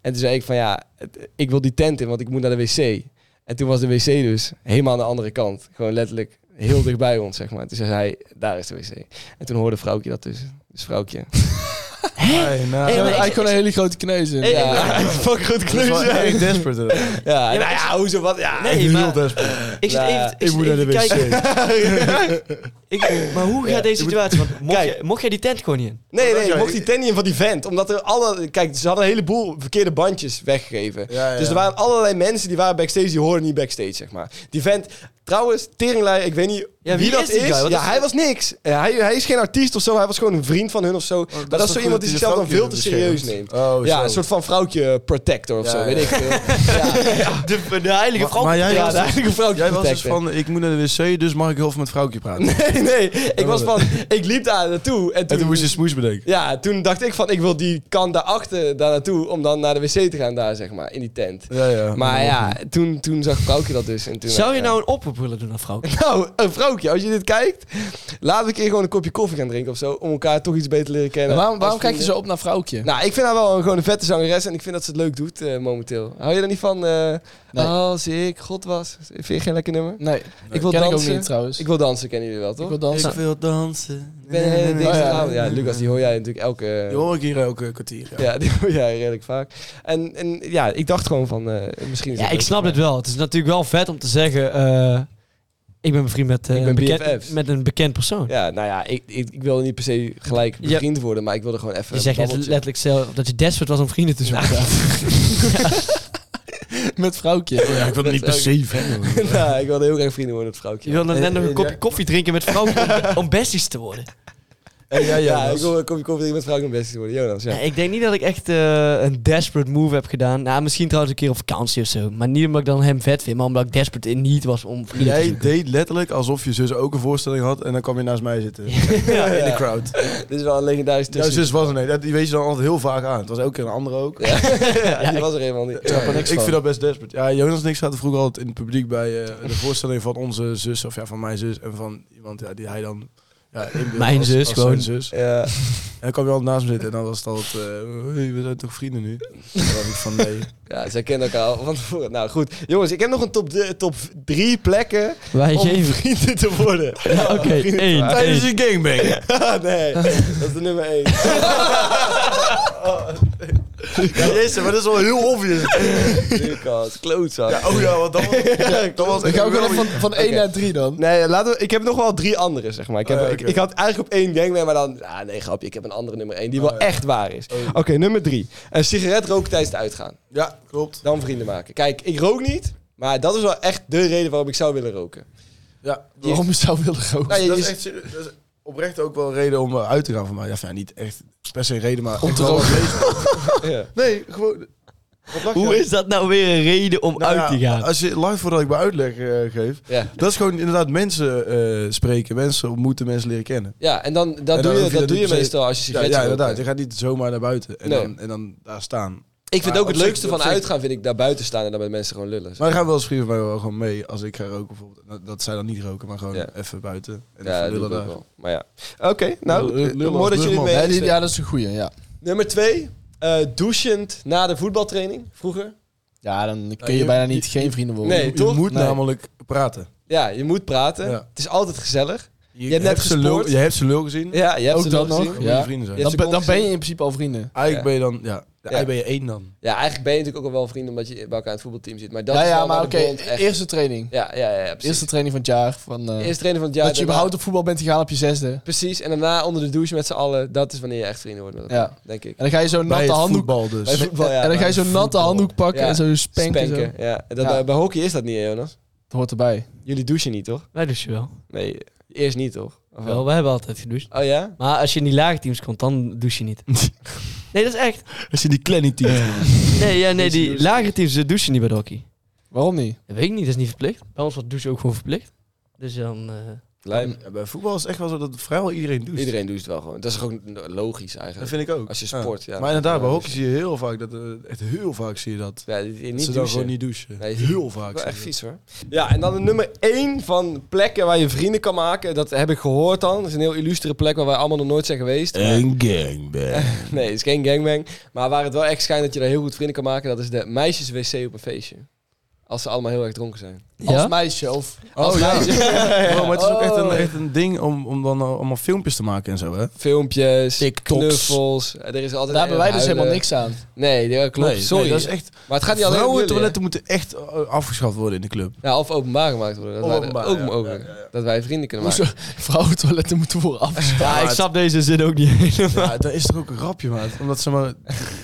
[SPEAKER 2] En toen zei ik van, ja, het- ik wil die tent in, want ik moet naar de wc. En toen was de wc dus helemaal aan de andere kant. Gewoon letterlijk heel dichtbij ons, zeg maar. Toen zei hij, daar is de wc. En toen hoorde vrouwtje dat dus. Dus vrouwtje.
[SPEAKER 4] Nee, nou,
[SPEAKER 3] Ja,
[SPEAKER 1] maar
[SPEAKER 3] eigenlijk
[SPEAKER 1] ik-
[SPEAKER 3] gewoon een hele grote kneus in.
[SPEAKER 1] Hey,
[SPEAKER 3] Ja.
[SPEAKER 2] Ja.
[SPEAKER 1] Fuck goed
[SPEAKER 4] dat is wel
[SPEAKER 1] klusje.
[SPEAKER 4] echt desperate. inderdaad.
[SPEAKER 2] Ja, nou ja, hoezo wat? Ja,
[SPEAKER 1] Nee,
[SPEAKER 4] Echt
[SPEAKER 1] maar-
[SPEAKER 4] heel desperate.
[SPEAKER 1] Ik zit
[SPEAKER 2] Nou,
[SPEAKER 1] even, ik
[SPEAKER 4] Ik
[SPEAKER 1] zit
[SPEAKER 4] moet naar de
[SPEAKER 1] even te kijken.
[SPEAKER 4] wc.
[SPEAKER 1] Ik, maar hoe gaat
[SPEAKER 2] Ja,
[SPEAKER 1] deze situatie? Want mocht,
[SPEAKER 2] Kijk.
[SPEAKER 1] jij, mocht jij die tent gewoon niet in?
[SPEAKER 2] Nee, nee,
[SPEAKER 4] Ja,
[SPEAKER 2] mocht die tennie van die vent. Omdat er alle... Kijk, ze hadden een heleboel verkeerde bandjes weggegeven.
[SPEAKER 4] Ja, ja,
[SPEAKER 2] Dus er
[SPEAKER 4] ja.
[SPEAKER 2] waren allerlei mensen die waren backstage, die hoorden niet backstage, zeg maar. Die vent... Trouwens, Teringlei, ik weet niet
[SPEAKER 1] Ja, wie,
[SPEAKER 2] dat
[SPEAKER 1] is die guy? Wat
[SPEAKER 2] Ja,
[SPEAKER 1] is-
[SPEAKER 2] hij was niks. Eh, hij, hij is geen artiest of zo. Hij was gewoon een vriend van hun of zo. maar dat is zo iemand die zichzelf dan veel te serieus neemt.
[SPEAKER 4] Oh,
[SPEAKER 2] ja,
[SPEAKER 4] zo.
[SPEAKER 2] een soort van vrouwtje protector of
[SPEAKER 4] Ja,
[SPEAKER 2] zo,
[SPEAKER 4] ja.
[SPEAKER 2] weet ik veel.
[SPEAKER 1] de, de heilige
[SPEAKER 4] Maar-
[SPEAKER 1] vrouw.
[SPEAKER 4] maar jij
[SPEAKER 2] Ja,
[SPEAKER 4] was
[SPEAKER 2] de
[SPEAKER 4] dus-
[SPEAKER 2] eigen vrouwtje
[SPEAKER 4] Jij was dus
[SPEAKER 2] protector.
[SPEAKER 4] van, ik moet naar de wc, dus mag ik heel veel met vrouwtje praten.
[SPEAKER 2] Nee, nee. Ik was van, ik liep daar naartoe en
[SPEAKER 4] En toen
[SPEAKER 2] toen...
[SPEAKER 4] moest je smoes bedenken.
[SPEAKER 2] Ja, toen dacht ik van, ik wil die kant daarachter daar naartoe om dan naar de wc te gaan daar, zeg maar, in die tent.
[SPEAKER 4] Ja, ja.
[SPEAKER 2] Maar ja, toen, toen zag vrouwtje dat dus. En toen
[SPEAKER 1] Zou je
[SPEAKER 2] ja.
[SPEAKER 1] nou een oproep willen doen aan vrouw?
[SPEAKER 2] Nou, een vrouwtje, als je dit kijkt, laten we een keer gewoon een kopje koffie gaan drinken of zo. Om elkaar toch iets beter te leren kennen.
[SPEAKER 3] En waarom waarom
[SPEAKER 2] Als
[SPEAKER 3] kijk je
[SPEAKER 2] vrienden.
[SPEAKER 3] zo op naar vrouwtje?
[SPEAKER 2] Nou, ik vind haar wel een, gewoon een vette zangeres en ik vind dat ze het leuk doet eh, momenteel. Hou je er niet van? eh,
[SPEAKER 3] Nee.
[SPEAKER 2] Als ik God was. Vind je geen lekker nummer?
[SPEAKER 3] nee,
[SPEAKER 2] ik wil
[SPEAKER 3] ken ik ook
[SPEAKER 2] dansen.
[SPEAKER 3] niet trouwens.
[SPEAKER 2] ik wil dansen, kennen jullie wel, toch?
[SPEAKER 3] Ik wil dansen.
[SPEAKER 4] wil dansen.
[SPEAKER 2] Ik ben een hele
[SPEAKER 3] Oh,
[SPEAKER 2] dingste
[SPEAKER 3] ja.
[SPEAKER 2] avond. ja. Lucas, die hoor jij natuurlijk elke...
[SPEAKER 4] Die hoor ik hier elke kwartier. Ja.
[SPEAKER 2] Ja, die hoor jij redelijk vaak. En, en ja, ik dacht gewoon van, eh, misschien... is
[SPEAKER 1] Ja, ik
[SPEAKER 2] leuk.
[SPEAKER 1] snap het wel. Het is natuurlijk wel vet om te zeggen... eh, ik ben bevriend met, eh,
[SPEAKER 2] Ik ben BFF's.
[SPEAKER 1] een bekend, met een bekend persoon.
[SPEAKER 2] Ja, nou ja, ik, ik, ik wilde niet per se gelijk
[SPEAKER 1] Ja.
[SPEAKER 2] vriend worden, maar ik wilde gewoon even...
[SPEAKER 1] Je zegt
[SPEAKER 2] een
[SPEAKER 1] net
[SPEAKER 2] babbeltje.
[SPEAKER 1] letterlijk zelf dat je desperate was om vrienden te zoeken.
[SPEAKER 3] Met vrouwtje.
[SPEAKER 4] Oh ik wil niet per se verder.
[SPEAKER 2] Ja, Nou, ik wilde heel graag vrienden worden met vrouwtje.
[SPEAKER 1] Je wil dan net nog een
[SPEAKER 2] Ja.
[SPEAKER 1] kopje koffie drinken met vrouwen om, om besties te worden.
[SPEAKER 2] Ja, ja, ik
[SPEAKER 4] Jonas.
[SPEAKER 2] wil een kopje koffie drinken met vrouwtje om best te worden. Jonas, ja.
[SPEAKER 1] Ja, ik denk niet dat ik echt eh, een desperate move heb gedaan. Nou, misschien trouwens een keer op vakantie of zo. Maar niet omdat ik dan hem vet vind, maar omdat ik desperate in niet was om vrienden te
[SPEAKER 4] Jij
[SPEAKER 1] zoeken.
[SPEAKER 4] deed letterlijk alsof je zus ook een voorstelling had en dan kwam je naast mij zitten.
[SPEAKER 1] Ja.
[SPEAKER 4] In de crowd.
[SPEAKER 2] Dit is wel een legendarisch
[SPEAKER 4] Jouw
[SPEAKER 2] tussen.
[SPEAKER 4] zus was er niet. Dat- Die weet je dan altijd heel vaak aan. Het was elke keer een andere ook.
[SPEAKER 2] Ja, die was er helemaal niet.
[SPEAKER 4] Ja, ik vind dat best desperate. Ja, Jonas en ik zaten vroeger altijd in het publiek bij eh, de voorstelling van onze zus, of ja, van mijn zus en van iemand ja, die hij dan. Ja, inbeeldt
[SPEAKER 1] Mijn
[SPEAKER 4] als-
[SPEAKER 1] zus
[SPEAKER 4] als
[SPEAKER 1] gewoon.
[SPEAKER 4] zijn zus. En
[SPEAKER 2] Ja,
[SPEAKER 4] dan kwam je altijd naast me zitten en dan was het altijd, eh, hey, we zijn toch vrienden nu? En dan dacht ik van nee.
[SPEAKER 2] ja zij kennen elkaar al van tevoren. Nou goed, jongens, ik heb nog een top, de- top drie plekken
[SPEAKER 1] Wij
[SPEAKER 2] om
[SPEAKER 1] geven.
[SPEAKER 2] vrienden te worden. Ah,
[SPEAKER 1] Ja, Oké, één.
[SPEAKER 4] Tijdens
[SPEAKER 1] één.
[SPEAKER 4] een gangbang.
[SPEAKER 2] nee, dat is de nummer één. Oh.
[SPEAKER 4] Ja, jezus, maar dat is wel heel obvious.
[SPEAKER 2] Lucas, klootzak.
[SPEAKER 4] Ja, oh ja, want dat was, dat was
[SPEAKER 3] Dan
[SPEAKER 4] echt
[SPEAKER 3] gaan we
[SPEAKER 4] wel-
[SPEAKER 3] gewoon even van, van 1
[SPEAKER 2] Oké.
[SPEAKER 3] naar 3 dan.
[SPEAKER 2] Nee, laten we, ik heb nog wel drie andere, zeg maar. Ik, heb,
[SPEAKER 4] Oh ja,
[SPEAKER 2] ik,
[SPEAKER 4] oké.
[SPEAKER 2] ik had eigenlijk op één gangman, maar dan... Ah, nee, grapje. Ik heb een andere nummer één die wel
[SPEAKER 4] Oh ja.
[SPEAKER 2] echt waar is.
[SPEAKER 4] Oh.
[SPEAKER 2] Oké, nummer drie. Een sigaret roken tijdens het uitgaan.
[SPEAKER 4] Ja, klopt.
[SPEAKER 2] Dan vrienden maken. Kijk, ik rook niet, maar dat is wel echt de reden waarom ik zou willen roken.
[SPEAKER 4] Ja,
[SPEAKER 3] Waarom je zou willen roken.
[SPEAKER 2] Nou, je-
[SPEAKER 4] dat
[SPEAKER 2] je-
[SPEAKER 4] is echt serieus. Dat is oprecht ook wel een reden om eh, uit te gaan van mij. Ja, enfin, niet echt per se een reden, maar...
[SPEAKER 3] Om
[SPEAKER 4] ik
[SPEAKER 3] te
[SPEAKER 4] wil wel
[SPEAKER 3] roken.
[SPEAKER 4] lezen.
[SPEAKER 2] ja.
[SPEAKER 4] Nee, gewoon... Wat lach
[SPEAKER 1] Hoe
[SPEAKER 4] jij?
[SPEAKER 1] is dat nou weer een reden om
[SPEAKER 4] Nou
[SPEAKER 1] uit te
[SPEAKER 4] ja,
[SPEAKER 1] gaan?
[SPEAKER 4] Als je lang voordat ik mijn uitleg eh, geef...
[SPEAKER 2] Ja.
[SPEAKER 4] Dat is gewoon inderdaad mensen eh, spreken, mensen ontmoeten, mensen leren kennen.
[SPEAKER 2] ja, en dan, dat
[SPEAKER 4] En
[SPEAKER 2] doe
[SPEAKER 4] dan
[SPEAKER 2] je,
[SPEAKER 4] hoef je
[SPEAKER 2] dat
[SPEAKER 4] dat
[SPEAKER 2] doe je
[SPEAKER 4] niet per se-
[SPEAKER 2] meestal als je
[SPEAKER 4] Ja,
[SPEAKER 2] sigaret
[SPEAKER 4] ja,
[SPEAKER 2] rookt.
[SPEAKER 4] inderdaad. Je gaat niet zomaar naar buiten en,
[SPEAKER 2] Nee.
[SPEAKER 4] dan, en dan daar staan.
[SPEAKER 2] Ik vind
[SPEAKER 4] Maar
[SPEAKER 2] ook het
[SPEAKER 4] op zich-
[SPEAKER 2] leukste van
[SPEAKER 4] op zich-
[SPEAKER 2] uitgaan vind ik daar buiten staan en dan met mensen gewoon lullen.
[SPEAKER 4] Maar dan gaan wel eens vrienden van mij wel gewoon mee als ik ga roken bijvoorbeeld. Dat, dat zij dan niet roken, maar gewoon
[SPEAKER 2] Ja.
[SPEAKER 4] even buiten. En
[SPEAKER 2] ja,
[SPEAKER 4] even
[SPEAKER 2] dat doe
[SPEAKER 4] lullen
[SPEAKER 2] ik ook
[SPEAKER 4] daar.
[SPEAKER 2] wel. Maar ja. Oké, nou,
[SPEAKER 4] Lullen-
[SPEAKER 2] eh,
[SPEAKER 4] lullen
[SPEAKER 2] mooi
[SPEAKER 4] als
[SPEAKER 2] dat jullie
[SPEAKER 4] brugman.
[SPEAKER 2] mee
[SPEAKER 3] Ja,
[SPEAKER 2] eens
[SPEAKER 3] die-
[SPEAKER 2] zijn.
[SPEAKER 3] ja, dat is een goeie, ja.
[SPEAKER 2] Nummer twee, eh douchend na de voetbaltraining, vroeger.
[SPEAKER 3] Ja, dan kun
[SPEAKER 4] Ja,
[SPEAKER 3] je
[SPEAKER 4] je-
[SPEAKER 3] bijna niet
[SPEAKER 4] je-
[SPEAKER 3] geen vrienden worden.
[SPEAKER 2] Nou, Nee,
[SPEAKER 4] je
[SPEAKER 2] toch?
[SPEAKER 4] moet
[SPEAKER 3] Nee.
[SPEAKER 4] namelijk praten.
[SPEAKER 2] Ja, je moet praten.
[SPEAKER 4] Ja.
[SPEAKER 2] Het is altijd gezellig. Je hebt net
[SPEAKER 4] ze lul,
[SPEAKER 2] gespoord.
[SPEAKER 4] je hebt ze lul gezien.
[SPEAKER 2] Ja, je hebt
[SPEAKER 3] Ook
[SPEAKER 2] ze wel
[SPEAKER 3] dat nog.
[SPEAKER 2] gezien.
[SPEAKER 4] Dan moet
[SPEAKER 3] Ja.
[SPEAKER 4] je vrienden zijn.
[SPEAKER 2] Ja.
[SPEAKER 3] Dan, ben- dan
[SPEAKER 2] gezien.
[SPEAKER 3] ben je in principe al vrienden.
[SPEAKER 4] Eigenlijk ben je dan, ja, eigenlijk ben je één dan.
[SPEAKER 2] Ja, eigenlijk ben je natuurlijk ook al wel vrienden omdat je bij elkaar in het voetbalteam zit. Maar dat
[SPEAKER 3] ja,
[SPEAKER 2] is
[SPEAKER 3] ja,
[SPEAKER 2] wel
[SPEAKER 3] maar
[SPEAKER 2] waar
[SPEAKER 3] oké,
[SPEAKER 2] de bond echt...
[SPEAKER 3] eerste training.
[SPEAKER 2] Ja, ja, ja, ja, precies.
[SPEAKER 3] Eerste training van het jaar. Van, eh,
[SPEAKER 2] Eerste trainer van het jaar.
[SPEAKER 3] dat je
[SPEAKER 2] daarna-
[SPEAKER 3] überhaupt op voetbal bent gegaan op je zesde. En
[SPEAKER 2] Precies, en daarna onder de douche met z'n allen. Dat is wanneer je echt vrienden wordt met elkaar,
[SPEAKER 3] Ja.
[SPEAKER 2] denk ik.
[SPEAKER 3] dan ga je zo'n
[SPEAKER 4] Bij
[SPEAKER 3] natte
[SPEAKER 4] het
[SPEAKER 3] handdoek...
[SPEAKER 4] voetbal
[SPEAKER 2] Bij
[SPEAKER 4] dus.
[SPEAKER 2] voetbal, ja.
[SPEAKER 3] en dan ga
[SPEAKER 4] bij
[SPEAKER 3] je zo'n natte
[SPEAKER 4] voetbal.
[SPEAKER 3] handdoek pakken
[SPEAKER 2] Ja.
[SPEAKER 3] en zo spanken. zo.
[SPEAKER 2] Spanken, ja. En Dat, eh,
[SPEAKER 3] Ja.
[SPEAKER 2] Bij, bij hockey is dat niet, hè, Jonas.
[SPEAKER 3] Dat hoort erbij.
[SPEAKER 2] Jullie douchen niet, toch?
[SPEAKER 1] Wij douchen wel.
[SPEAKER 2] Nee, eerst niet, toch? Of
[SPEAKER 1] Wel, wij hebben altijd gedoucht.
[SPEAKER 2] Oh ja?
[SPEAKER 1] Maar als je in die lage teams komt, dan douche je niet. nee, dat is echt.
[SPEAKER 4] Als je die kleine team.
[SPEAKER 1] Nee, ja, nee
[SPEAKER 2] Douchen,
[SPEAKER 1] die
[SPEAKER 2] douchen.
[SPEAKER 1] lage teams eh, douchen niet bij de hockey.
[SPEAKER 3] Waarom niet?
[SPEAKER 1] Dat weet ik niet, dat is niet verplicht. Bij ons wordt douchen ook gewoon verplicht. Dus dan... eh,
[SPEAKER 2] Lijm.
[SPEAKER 4] Ja, bij voetbal is het echt wel zo dat vrijwel iedereen doet.
[SPEAKER 2] Iedereen doucht wel gewoon. Dat is gewoon logisch
[SPEAKER 4] Dat
[SPEAKER 2] eigenlijk.
[SPEAKER 4] vind ik ook.
[SPEAKER 2] Als je sport, ja.
[SPEAKER 4] Maar inderdaad, bij
[SPEAKER 2] Ja,
[SPEAKER 4] hockey zie je heel vaak dat, eh, echt heel vaak zie je dat.
[SPEAKER 2] Ja, die- die
[SPEAKER 4] dat ze
[SPEAKER 2] niet
[SPEAKER 4] dan
[SPEAKER 2] douchen.
[SPEAKER 4] gewoon niet douchen.
[SPEAKER 2] Nee,
[SPEAKER 4] heel vaak.
[SPEAKER 2] Wel
[SPEAKER 4] zie je
[SPEAKER 2] echt
[SPEAKER 4] dat.
[SPEAKER 2] vies hoor. Ja, en dan de nummer één van plekken waar je vrienden kan maken. Dat heb ik gehoord dan. Dat is een heel illustere plek waar wij allemaal nog nooit zijn geweest.
[SPEAKER 4] Een gangbang.
[SPEAKER 2] Nee, het is geen gangbang. Maar waar het wel echt schijnt dat je daar heel goed vrienden kan maken, dat is de meisjeswc op een feestje. Als ze allemaal heel erg dronken zijn.
[SPEAKER 3] Als
[SPEAKER 1] ja?
[SPEAKER 3] meisje of...
[SPEAKER 4] Oh ja. Oh, maar het is ook echt een,
[SPEAKER 2] Oh.
[SPEAKER 4] echt een ding om, om dan al- allemaal filmpjes te maken en zo, hè?
[SPEAKER 2] Filmpjes,
[SPEAKER 3] TikToks.
[SPEAKER 2] knuffels. Er is altijd
[SPEAKER 3] Daar hebben wij dus
[SPEAKER 2] huilen.
[SPEAKER 3] helemaal niks aan.
[SPEAKER 2] Nee, dat klopt.
[SPEAKER 4] Nee,
[SPEAKER 2] Sorry.
[SPEAKER 4] nee, dat is echt.
[SPEAKER 2] Maar het gaat niet alleen om jullie, hè?
[SPEAKER 4] Vrouwentoiletten moeten echt eh, afgeschaft worden in de club.
[SPEAKER 2] Ja, of openbaar gemaakt worden. Dat
[SPEAKER 4] Openbaar,
[SPEAKER 2] wij er ook
[SPEAKER 4] ja.
[SPEAKER 2] mogelijk.
[SPEAKER 4] Ja, ja, ja.
[SPEAKER 2] Dat wij vrienden kunnen maken.
[SPEAKER 3] Hoezo? Vrouwentoiletten moeten worden af.
[SPEAKER 1] ja, Ah, ik snap deze zin ook niet helemaal.
[SPEAKER 4] Ja, dat is toch ook een grapje, maat? Omdat ze maar...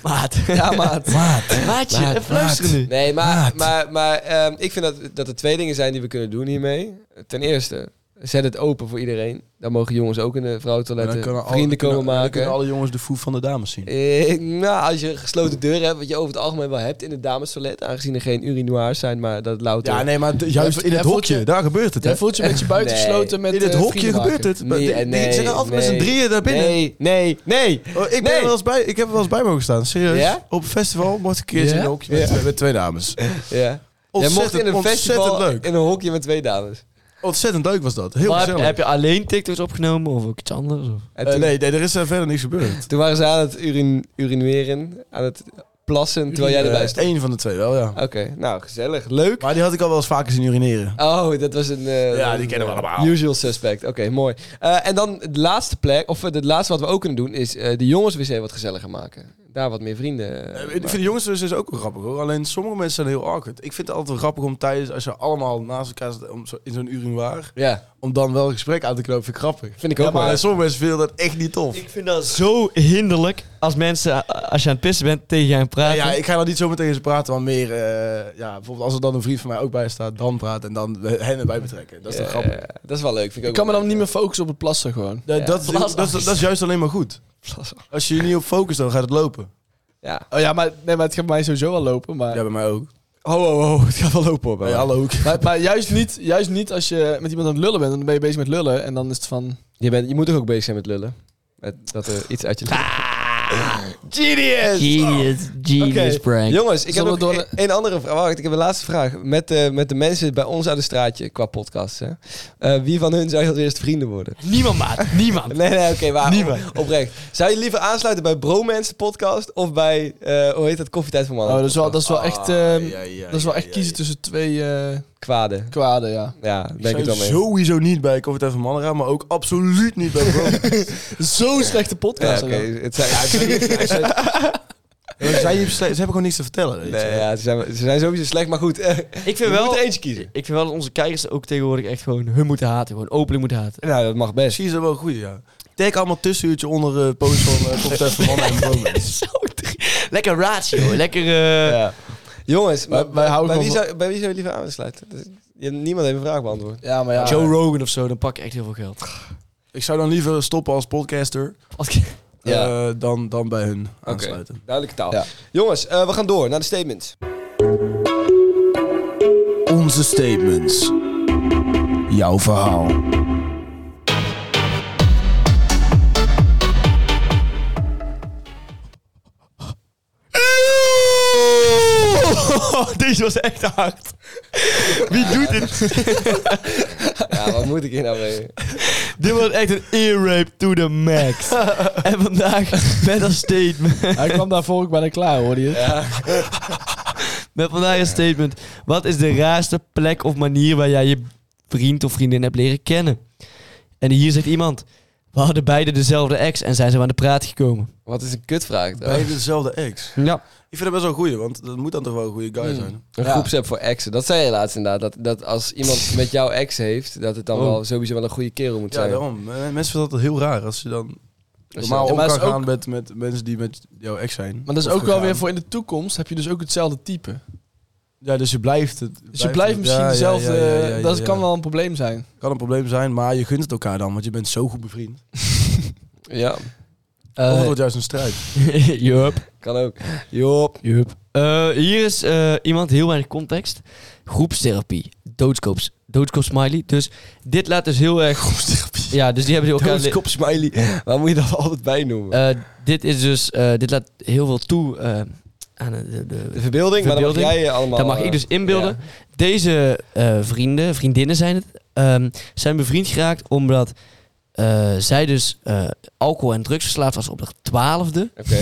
[SPEAKER 1] Maat.
[SPEAKER 2] Ja, maat.
[SPEAKER 1] Maatje,
[SPEAKER 4] Maat,
[SPEAKER 1] even luisteren nu.
[SPEAKER 2] Nee, maar,
[SPEAKER 4] Maat.
[SPEAKER 2] maar, maar ehm, ik vind dat, dat er twee dingen zijn die we kunnen doen hiermee. Ten eerste, Zet het open voor iedereen. Dan mogen jongens ook in de vrouwentoiletten
[SPEAKER 4] kunnen al-
[SPEAKER 2] vrienden komen
[SPEAKER 4] kunnen- dan
[SPEAKER 2] maken.
[SPEAKER 4] kunnen alle jongens de foef van de dames zien.
[SPEAKER 2] Eh, nou, als je een gesloten deur hebt, wat je over het algemeen wel hebt in het damestoilet, aangezien er geen urinoirs zijn, maar dat louter...
[SPEAKER 4] Ja, nee, maar d- juist in
[SPEAKER 3] Jij
[SPEAKER 4] het
[SPEAKER 3] voelt
[SPEAKER 4] hokje,
[SPEAKER 3] je-
[SPEAKER 4] daar gebeurt het, hè?
[SPEAKER 3] Jij voelt je een beetje buitengesloten met
[SPEAKER 4] In het
[SPEAKER 3] eh,
[SPEAKER 4] hokje
[SPEAKER 3] vrienden
[SPEAKER 4] gebeurt
[SPEAKER 3] maken.
[SPEAKER 4] het. Maar die-
[SPEAKER 2] eh,
[SPEAKER 4] die- Die zijn altijd met z'n
[SPEAKER 2] nee.
[SPEAKER 4] drieën daar binnen.
[SPEAKER 2] Nee, nee, nee.
[SPEAKER 4] Oh, ik, ben
[SPEAKER 2] Nee.
[SPEAKER 4] er wel eens bij, ik heb er wel eens bij mogen staan, serieus.
[SPEAKER 2] Ja?
[SPEAKER 4] Op een festival mocht ik een keer
[SPEAKER 3] Ja?
[SPEAKER 4] in een hokje met, twee- met twee dames.
[SPEAKER 2] Ja. Jij
[SPEAKER 4] Ontzettend,
[SPEAKER 2] mocht in een
[SPEAKER 4] ontzettend
[SPEAKER 2] festival
[SPEAKER 4] leuk.
[SPEAKER 2] in een hokje met twee dames.
[SPEAKER 4] Ontzettend leuk was dat. Heel
[SPEAKER 1] Maar heb,
[SPEAKER 4] gezellig.
[SPEAKER 1] heb je alleen TikToks opgenomen of ook iets anders? Of?
[SPEAKER 2] En
[SPEAKER 4] Eh,
[SPEAKER 2] toen,
[SPEAKER 4] nee, nee, er is eh, verder niks gebeurd.
[SPEAKER 2] toen waren ze aan het urin, urineren, aan het plassen, terwijl jij erbij stond.
[SPEAKER 4] Eén Eh, van de twee wel, ja.
[SPEAKER 2] Oké, nou gezellig, leuk.
[SPEAKER 4] Maar die had ik al wel eens vaker zien urineren.
[SPEAKER 2] Oh, dat was een... eh,
[SPEAKER 4] Ja,
[SPEAKER 2] een,
[SPEAKER 4] die kennen we
[SPEAKER 2] eh,
[SPEAKER 4] allemaal.
[SPEAKER 2] Usual suspect. Oké, mooi. Eh, en dan de laatste plek, of eh, het laatste wat we ook kunnen doen, is eh, de jongenswc wat gezelliger maken. Daar wat meer vrienden. eh,
[SPEAKER 4] Eh, ik
[SPEAKER 2] maken.
[SPEAKER 4] vind de jongens dus ook wel grappig hoor. Alleen sommige mensen zijn heel awkward. Ik vind het altijd wel grappig om tijdens, als je allemaal naast elkaar zit om zo- in zo'n urinoir,
[SPEAKER 2] Ja,
[SPEAKER 4] om dan wel een gesprek aan te knopen, vind ik grappig.
[SPEAKER 2] vind ik
[SPEAKER 4] Ja,
[SPEAKER 2] ook
[SPEAKER 4] maar
[SPEAKER 2] wel.
[SPEAKER 4] sommige mensen vinden dat echt niet tof.
[SPEAKER 1] Ik vind dat zo hinderlijk als mensen, eh, als je aan het pissen bent, tegen je aan het
[SPEAKER 4] Ja,
[SPEAKER 1] praten.
[SPEAKER 4] ja, ik ga dan niet zo meteen eens praten, maar meer, eh, ja, bijvoorbeeld als er dan een vriend van mij ook bij staat, dan praat en dan hen erbij betrekken. Dat is toch
[SPEAKER 2] Ja,
[SPEAKER 4] grappig?
[SPEAKER 2] ja, Eh, dat is wel leuk. Vind ik, ook
[SPEAKER 3] Ik kan me
[SPEAKER 2] wel
[SPEAKER 3] dan niet meer focussen op het plassen gewoon.
[SPEAKER 4] Dat,
[SPEAKER 2] Ja.
[SPEAKER 4] dat, is- dat, is- dat is juist alleen maar goed. Als je je niet op focust, dan gaat het lopen.
[SPEAKER 2] leuk. Ja.
[SPEAKER 3] Oh ja, maar, nee, maar het gaat bij mij sowieso wel lopen. Maar,
[SPEAKER 4] Ja, bij mij ook.
[SPEAKER 3] Oh, oh, oh, het gaat wel lopen hoor. bij
[SPEAKER 4] Bij
[SPEAKER 3] mij.
[SPEAKER 4] alle hoeken.
[SPEAKER 3] Maar, maar juist, niet, juist niet als je met iemand aan het lullen bent. Dan ben je bezig met lullen en dan is het van...
[SPEAKER 2] Je, bent, je moet toch ook bezig zijn met lullen? Met, dat er iets uit je
[SPEAKER 4] Genius!
[SPEAKER 1] Genius, genius
[SPEAKER 2] Oké, Jongens, ik heb nog
[SPEAKER 3] Zullen we door
[SPEAKER 2] een, een andere vraag. Wacht, ik heb een laatste vraag. Met, eh, met de mensen bij ons uit de straatje qua podcast. Hè? Eh, wie van hun zou je als eerst vrienden worden?
[SPEAKER 1] Niemand, maat. Niemand.
[SPEAKER 2] Nee, nee, oké, waar?
[SPEAKER 1] Niemand.
[SPEAKER 2] Oprecht. Zou je liever aansluiten bij Bromance de podcast of bij, eh, hoe heet dat, Koffietijd voor
[SPEAKER 3] Oh,
[SPEAKER 2] Mannen?
[SPEAKER 3] dat is wel, dat is wel echt, ehm, dat is wel echt kiezen
[SPEAKER 4] tussen.
[SPEAKER 3] tussen twee eh
[SPEAKER 2] Kwaden.
[SPEAKER 3] kwaden, ja.
[SPEAKER 2] Ja, daar ben ik
[SPEAKER 4] Ik
[SPEAKER 2] het wel
[SPEAKER 4] zou
[SPEAKER 2] mee.
[SPEAKER 4] sowieso niet bij Koffie Tijd van Mannen gaan, maar ook absoluut niet bij Bro.
[SPEAKER 3] Zo'n slechte
[SPEAKER 2] Ja,
[SPEAKER 3] podcast.
[SPEAKER 2] oké.
[SPEAKER 3] hè,
[SPEAKER 2] Het zijn, ja, het zijn- het zijn-
[SPEAKER 4] Zij hebben gewoon niks te vertellen. Weet
[SPEAKER 2] nee, ja, ze, zijn, ze zijn sowieso slecht, maar goed. eh,
[SPEAKER 1] Ik
[SPEAKER 2] je
[SPEAKER 1] vind wel...
[SPEAKER 2] moet er eentje kiezen.
[SPEAKER 1] Ik vind wel dat onze kijkers ook tegenwoordig echt gewoon hun moeten haten. Gewoon openlijk moeten haten.
[SPEAKER 2] Nou, dat mag best.
[SPEAKER 4] Precies, dat wel goed, ja. Kijk allemaal tussenuurtje onder eh post van eh Koffie Tijd van Mannen en Bro.
[SPEAKER 1] Zo drie- Lekker ratio. Lekker... eh,
[SPEAKER 2] Ja. Jongens,
[SPEAKER 3] Wij-
[SPEAKER 2] maar,
[SPEAKER 3] wij houden
[SPEAKER 2] bij, wie
[SPEAKER 3] van-
[SPEAKER 2] zou, bij wie zou je liever aansluiten? Dat is- je- Niemand heeft een vraag beantwoord.
[SPEAKER 3] Ja, maar ja.
[SPEAKER 1] Joe Rogan of zo, dan pak ik echt heel veel geld.
[SPEAKER 4] Ik zou dan liever stoppen als podcaster
[SPEAKER 2] Ja.
[SPEAKER 4] eh, dan, dan bij hun aansluiten.
[SPEAKER 2] Duidelijke taal.
[SPEAKER 3] Ja.
[SPEAKER 2] Jongens, eh, we gaan door naar de statements.
[SPEAKER 4] Onze statements. Jouw verhaal.
[SPEAKER 1] Deze was echt hard. Wie doet dit?
[SPEAKER 2] Ja, wat moet ik hier nou mee?
[SPEAKER 1] Dit was echt een ear rape to the max. en vandaag met een statement.
[SPEAKER 3] Hij kwam daarvoor ook bijna klaar, hoorde je?
[SPEAKER 1] Met vandaag een statement. Wat is de raarste plek of manier waar jij je vriend of vriendin hebt leren kennen? En hier zegt iemand. We hadden beide dezelfde ex en zijn ze aan de praat gekomen.
[SPEAKER 2] Wat is een kutvraag? trouwens?
[SPEAKER 4] Beide dezelfde ex.
[SPEAKER 1] Ja.
[SPEAKER 4] Ik vind dat best wel een goeie, want dat moet dan toch wel een goede guy zijn.
[SPEAKER 2] Een
[SPEAKER 3] Ja.
[SPEAKER 2] groepsapp voor exen. Dat zei je laatst inderdaad. Dat, dat als iemand met jouw ex heeft, dat het dan
[SPEAKER 1] Oh.
[SPEAKER 2] wel sowieso wel een goede kerel moet
[SPEAKER 4] Ja,
[SPEAKER 2] zijn.
[SPEAKER 4] daarom. Eh, Mensen vinden dat heel raar als je dan
[SPEAKER 2] Als je-
[SPEAKER 4] normaal
[SPEAKER 3] Ja,
[SPEAKER 4] om
[SPEAKER 3] maar
[SPEAKER 4] kan
[SPEAKER 3] dat is ook-
[SPEAKER 4] gaan met, met mensen die met jouw ex zijn.
[SPEAKER 3] Maar dat is
[SPEAKER 4] Of
[SPEAKER 3] ook wel
[SPEAKER 4] gegaan.
[SPEAKER 3] weer voor in de toekomst heb je dus ook hetzelfde type.
[SPEAKER 4] Ja, dus je blijft het.
[SPEAKER 3] Dus je blijft
[SPEAKER 4] het-
[SPEAKER 3] misschien
[SPEAKER 4] ja, ja,
[SPEAKER 3] dezelfde...
[SPEAKER 4] ja, ja, ja,
[SPEAKER 3] dat
[SPEAKER 4] ja.
[SPEAKER 3] kan wel een probleem zijn.
[SPEAKER 4] Kan een probleem zijn, maar je gunt het elkaar dan, want je bent zo goed bevriend.
[SPEAKER 2] Ja,
[SPEAKER 4] Of het
[SPEAKER 1] Eh
[SPEAKER 4] wordt juist een strijd.
[SPEAKER 1] Joop.
[SPEAKER 2] kan ook. Joop.
[SPEAKER 1] Eh, hier is eh, iemand heel weinig context. Groepstherapie. Doodskoops. Doodskoop smiley. Dus dit laat dus heel erg... Groepstherapie. Ja, dus die hebben ze elkaar...
[SPEAKER 2] Doodskop smiley. Waar moet je dat altijd bij noemen?
[SPEAKER 1] Eh, dit is dus... eh, dit laat heel veel toe eh, aan de... de,
[SPEAKER 2] de verbeelding, maar dat mag
[SPEAKER 1] verbeelding.
[SPEAKER 2] jij eh, allemaal...
[SPEAKER 1] dat mag ik
[SPEAKER 2] eh,
[SPEAKER 1] dus inbeelden. Deze eh, vrienden, vriendinnen zijn het, ehm, zijn bevriend geraakt omdat eh, zij dus eh, alcohol en drugs verslaafd was op de twaalfde.
[SPEAKER 2] Oké.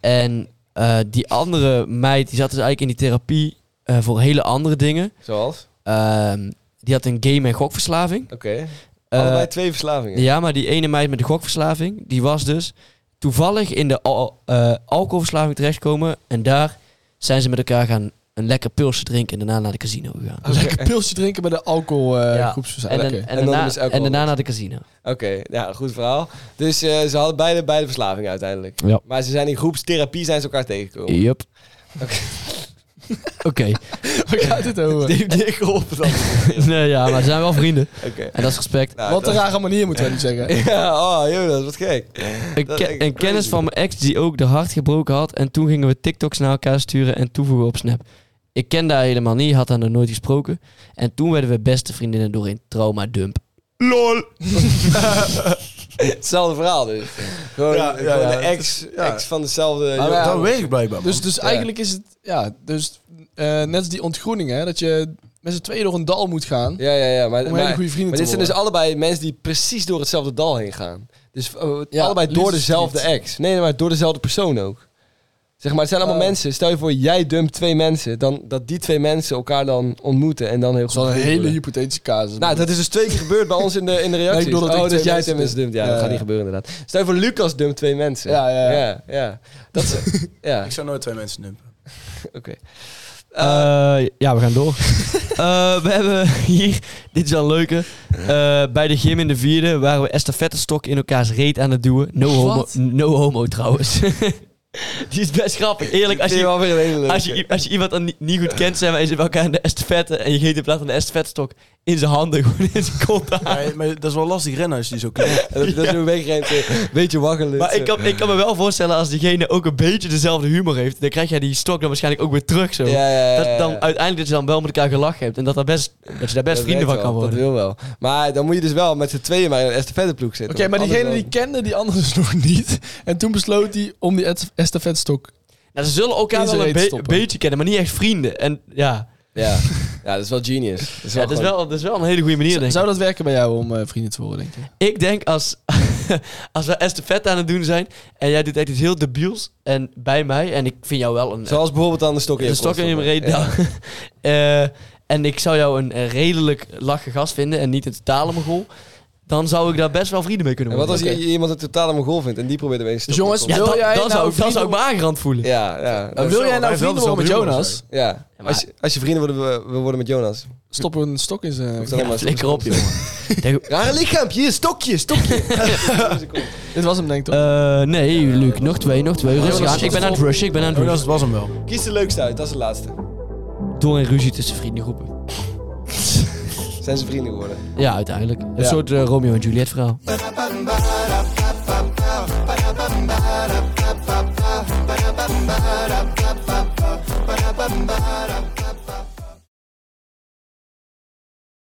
[SPEAKER 1] En eh, die andere meid, die zat dus eigenlijk in die therapie eh, voor hele andere dingen.
[SPEAKER 2] Zoals?
[SPEAKER 1] Ehm, die had een game- en gokverslaving.
[SPEAKER 2] Oké.
[SPEAKER 1] Eh,
[SPEAKER 2] Allebei twee verslavingen.
[SPEAKER 1] ja, maar die ene meid met de gokverslaving, die was dus toevallig in de al- eh, alcoholverslaving terechtgekomen. En daar zijn ze met elkaar gaan een lekker pilsje drinken en daarna naar de casino gegaan.
[SPEAKER 3] Lekker pilsje drinken bij de alcohol eh
[SPEAKER 1] Ja. En,
[SPEAKER 3] groepsverzijn.
[SPEAKER 1] dan-
[SPEAKER 3] Oké.
[SPEAKER 1] en,
[SPEAKER 2] En dan
[SPEAKER 1] daarna,
[SPEAKER 2] is alcohol
[SPEAKER 1] en daarna
[SPEAKER 2] los.
[SPEAKER 1] naar de casino.
[SPEAKER 2] Oké, ja, goed verhaal. Dus eh, ze hadden beide, beide verslavingen uiteindelijk.
[SPEAKER 1] Ja.
[SPEAKER 2] Maar ze zijn in groepstherapie zijn ze elkaar tegengekomen.
[SPEAKER 1] Yup. Oh. Oké.
[SPEAKER 3] Waar gaat het over?
[SPEAKER 2] Neem die ik op dan.
[SPEAKER 1] Nee, ja, maar ze zijn wel vrienden.
[SPEAKER 2] Oké.
[SPEAKER 1] En dat is respect.
[SPEAKER 2] Nou,
[SPEAKER 3] Wat een
[SPEAKER 2] dat-
[SPEAKER 3] rare manier moeten we niet zeggen.
[SPEAKER 2] Ja, oh Jonas, wat gek.
[SPEAKER 1] Een,
[SPEAKER 2] Dat
[SPEAKER 1] ke-
[SPEAKER 2] is echt
[SPEAKER 1] een kennis
[SPEAKER 2] crazy.
[SPEAKER 1] van mijn ex die ook de hart gebroken had. En toen gingen we TikToks naar elkaar sturen en toevoegen op Snap. Ik kende haar helemaal niet, had haar nog nooit gesproken. En toen werden we beste vriendinnen door een traumadump.
[SPEAKER 2] Hetzelfde verhaal dus. Gewoon,
[SPEAKER 4] Ja, ja,
[SPEAKER 2] gewoon
[SPEAKER 4] ja,
[SPEAKER 2] de ex,
[SPEAKER 4] ja.
[SPEAKER 2] ex van dezelfde...
[SPEAKER 3] Maar
[SPEAKER 2] jongen.
[SPEAKER 3] ja,
[SPEAKER 4] dat werkt blijkbaar.
[SPEAKER 3] Dus,
[SPEAKER 4] Dus
[SPEAKER 3] dus eigenlijk is het, ja, dus eh, net als die ontgroening, hè, dat je met z'n tweeën door een dal moet gaan.
[SPEAKER 2] ja, ja, ja. Maar,
[SPEAKER 3] Om
[SPEAKER 2] maar,
[SPEAKER 3] hele goede vrienden
[SPEAKER 2] maar dit
[SPEAKER 3] te
[SPEAKER 2] zijn
[SPEAKER 3] worden.
[SPEAKER 2] dus allebei mensen die precies door hetzelfde dal heen gaan. Dus eh,
[SPEAKER 3] Ja,
[SPEAKER 2] allebei door
[SPEAKER 3] liefdesverdriet.
[SPEAKER 2] dezelfde ex. Nee, nee, maar door dezelfde persoon ook. Zeg maar, het zijn allemaal
[SPEAKER 3] Oh.
[SPEAKER 2] mensen. Stel je voor, jij dumpt twee mensen. Dan, dat die twee mensen elkaar dan ontmoeten en dan heel
[SPEAKER 3] dat is wel
[SPEAKER 2] goed
[SPEAKER 3] een
[SPEAKER 2] vrienden
[SPEAKER 3] hele
[SPEAKER 2] worden.
[SPEAKER 3] hypothetische casus.
[SPEAKER 2] Nou, dat is dus twee keer gebeurd bij ons in de, in de reacties.
[SPEAKER 3] Nee, ik bedoel dat ik
[SPEAKER 2] oh,
[SPEAKER 3] twee
[SPEAKER 2] dus jij
[SPEAKER 3] mensen
[SPEAKER 2] twee mensen dumpt. Ja, dat
[SPEAKER 3] Ja,
[SPEAKER 2] gaat
[SPEAKER 3] ja.
[SPEAKER 2] niet gebeuren inderdaad. Stel je voor, Lucas dumpt twee mensen.
[SPEAKER 3] Ja, ja, ja.
[SPEAKER 2] ja. ja. Dat is... ja,
[SPEAKER 4] ik zou nooit twee mensen dumpen.
[SPEAKER 2] oké.
[SPEAKER 1] Eh, ja, we gaan door. Eh, we hebben hier, dit is wel een leuke. Eh, bij de gym in de vierde waren we estafettestok in elkaars reet aan het duwen. No homo,
[SPEAKER 3] Wat?
[SPEAKER 1] no homo trouwens. Die is best grappig. Eerlijk, als
[SPEAKER 2] Vind
[SPEAKER 1] je,
[SPEAKER 2] wel weer een hele leuke.
[SPEAKER 1] als je, als je iemand dan niet, niet goed kent, zijn wij ze bij elkaar in de estafette. En je geeft in plaats van de estafettestok in zijn handen, gewoon in zijn kont aan.
[SPEAKER 4] Nee, maar dat is wel lastig rennen als je die zo kent.
[SPEAKER 2] Dat, dat is een beetje, een beetje waggelen.
[SPEAKER 1] Maar ik kan, ik kan me wel voorstellen als diegene ook een beetje dezelfde humor heeft, dan krijg jij die stok dan waarschijnlijk ook weer terug zo.
[SPEAKER 2] Ja, ja, ja, ja.
[SPEAKER 1] Dat dan uiteindelijk dat je dan wel met elkaar gelachen hebt en dat, daar best, dat je daar best
[SPEAKER 2] Dat
[SPEAKER 1] vrienden van
[SPEAKER 2] werkt
[SPEAKER 1] kan
[SPEAKER 2] wel,
[SPEAKER 1] worden.
[SPEAKER 2] Dat wil wel. Maar dan moet je dus wel met z'n tweeën maar in een estafetteploeg
[SPEAKER 3] Oké,
[SPEAKER 2] zitten.
[SPEAKER 3] maar
[SPEAKER 2] Want
[SPEAKER 3] diegene
[SPEAKER 2] anders
[SPEAKER 3] die kende die anderen dus nog niet. En toen besloot hij om die est- estafetstok.
[SPEAKER 1] Nou, ze zullen elkaar
[SPEAKER 3] In zijn
[SPEAKER 1] wel een
[SPEAKER 3] reet
[SPEAKER 1] be-
[SPEAKER 3] stoppen.
[SPEAKER 1] beetje kennen, maar niet echt vrienden. En ja,
[SPEAKER 2] dan- Ja. ja, dat is wel genius. Dat is
[SPEAKER 1] ja
[SPEAKER 2] wel
[SPEAKER 1] dat, is
[SPEAKER 2] gewoon-
[SPEAKER 1] wel, dat is wel een hele goede manier, denk ik.
[SPEAKER 3] Zou dat werken bij jou om eh, vrienden te worden, denk je?
[SPEAKER 1] Ik denk als, als we estafette aan het doen zijn en jij doet echt iets heel debiels en bij mij, en ik vind jou wel een,
[SPEAKER 2] Zoals bijvoorbeeld aan de stok in
[SPEAKER 1] een
[SPEAKER 2] je
[SPEAKER 1] stok in je
[SPEAKER 2] kont
[SPEAKER 1] reet.
[SPEAKER 2] stoppen. Ja.
[SPEAKER 1] nou, eh, en ik zou jou een eh, redelijk lachen gast vinden en niet een totale mogol, dan zou ik daar best wel vrienden mee kunnen
[SPEAKER 2] En wat
[SPEAKER 1] worden.
[SPEAKER 2] als je iemand een totale mongool vindt en die probeert hem eens te
[SPEAKER 3] Dus jongens,
[SPEAKER 1] Ja,
[SPEAKER 3] Wil
[SPEAKER 1] dan,
[SPEAKER 3] jij
[SPEAKER 1] dan
[SPEAKER 3] nou
[SPEAKER 1] zou, ik- dan
[SPEAKER 3] vrienden
[SPEAKER 1] zou ik me aangerand voelen.
[SPEAKER 2] Ja, ja.
[SPEAKER 3] En
[SPEAKER 2] Dat-
[SPEAKER 3] wil
[SPEAKER 4] zo,
[SPEAKER 3] jij
[SPEAKER 4] wij
[SPEAKER 3] nou
[SPEAKER 4] hebben wel
[SPEAKER 3] vrienden worden met
[SPEAKER 4] dezelfde
[SPEAKER 3] Jonas?
[SPEAKER 4] humor,
[SPEAKER 2] ja. Als, je, als je vrienden worden, wil- wil worden met Jonas.
[SPEAKER 3] Stop een stok in zijn...
[SPEAKER 2] Ja.
[SPEAKER 1] Ja, flikker op, jongen. Denk-
[SPEAKER 2] Rare lichaampje, hier, stokje, stokje.
[SPEAKER 3] Dit was hem, denk ik, toch?
[SPEAKER 1] Eh, nee, Luc, nog twee, nog twee. Rustig aan. Ik ben aan het rushen, ik ben aan het
[SPEAKER 4] Jonas,
[SPEAKER 1] rushen.
[SPEAKER 4] het was hem wel.
[SPEAKER 2] Kies de leukste uit, dat is de laatste.
[SPEAKER 1] Door een ruzie tussen vriendengroepen.
[SPEAKER 2] Zijn ze vrienden geworden?
[SPEAKER 1] Ja, uiteindelijk. Een soort eh, Romeo en Juliet verhaal.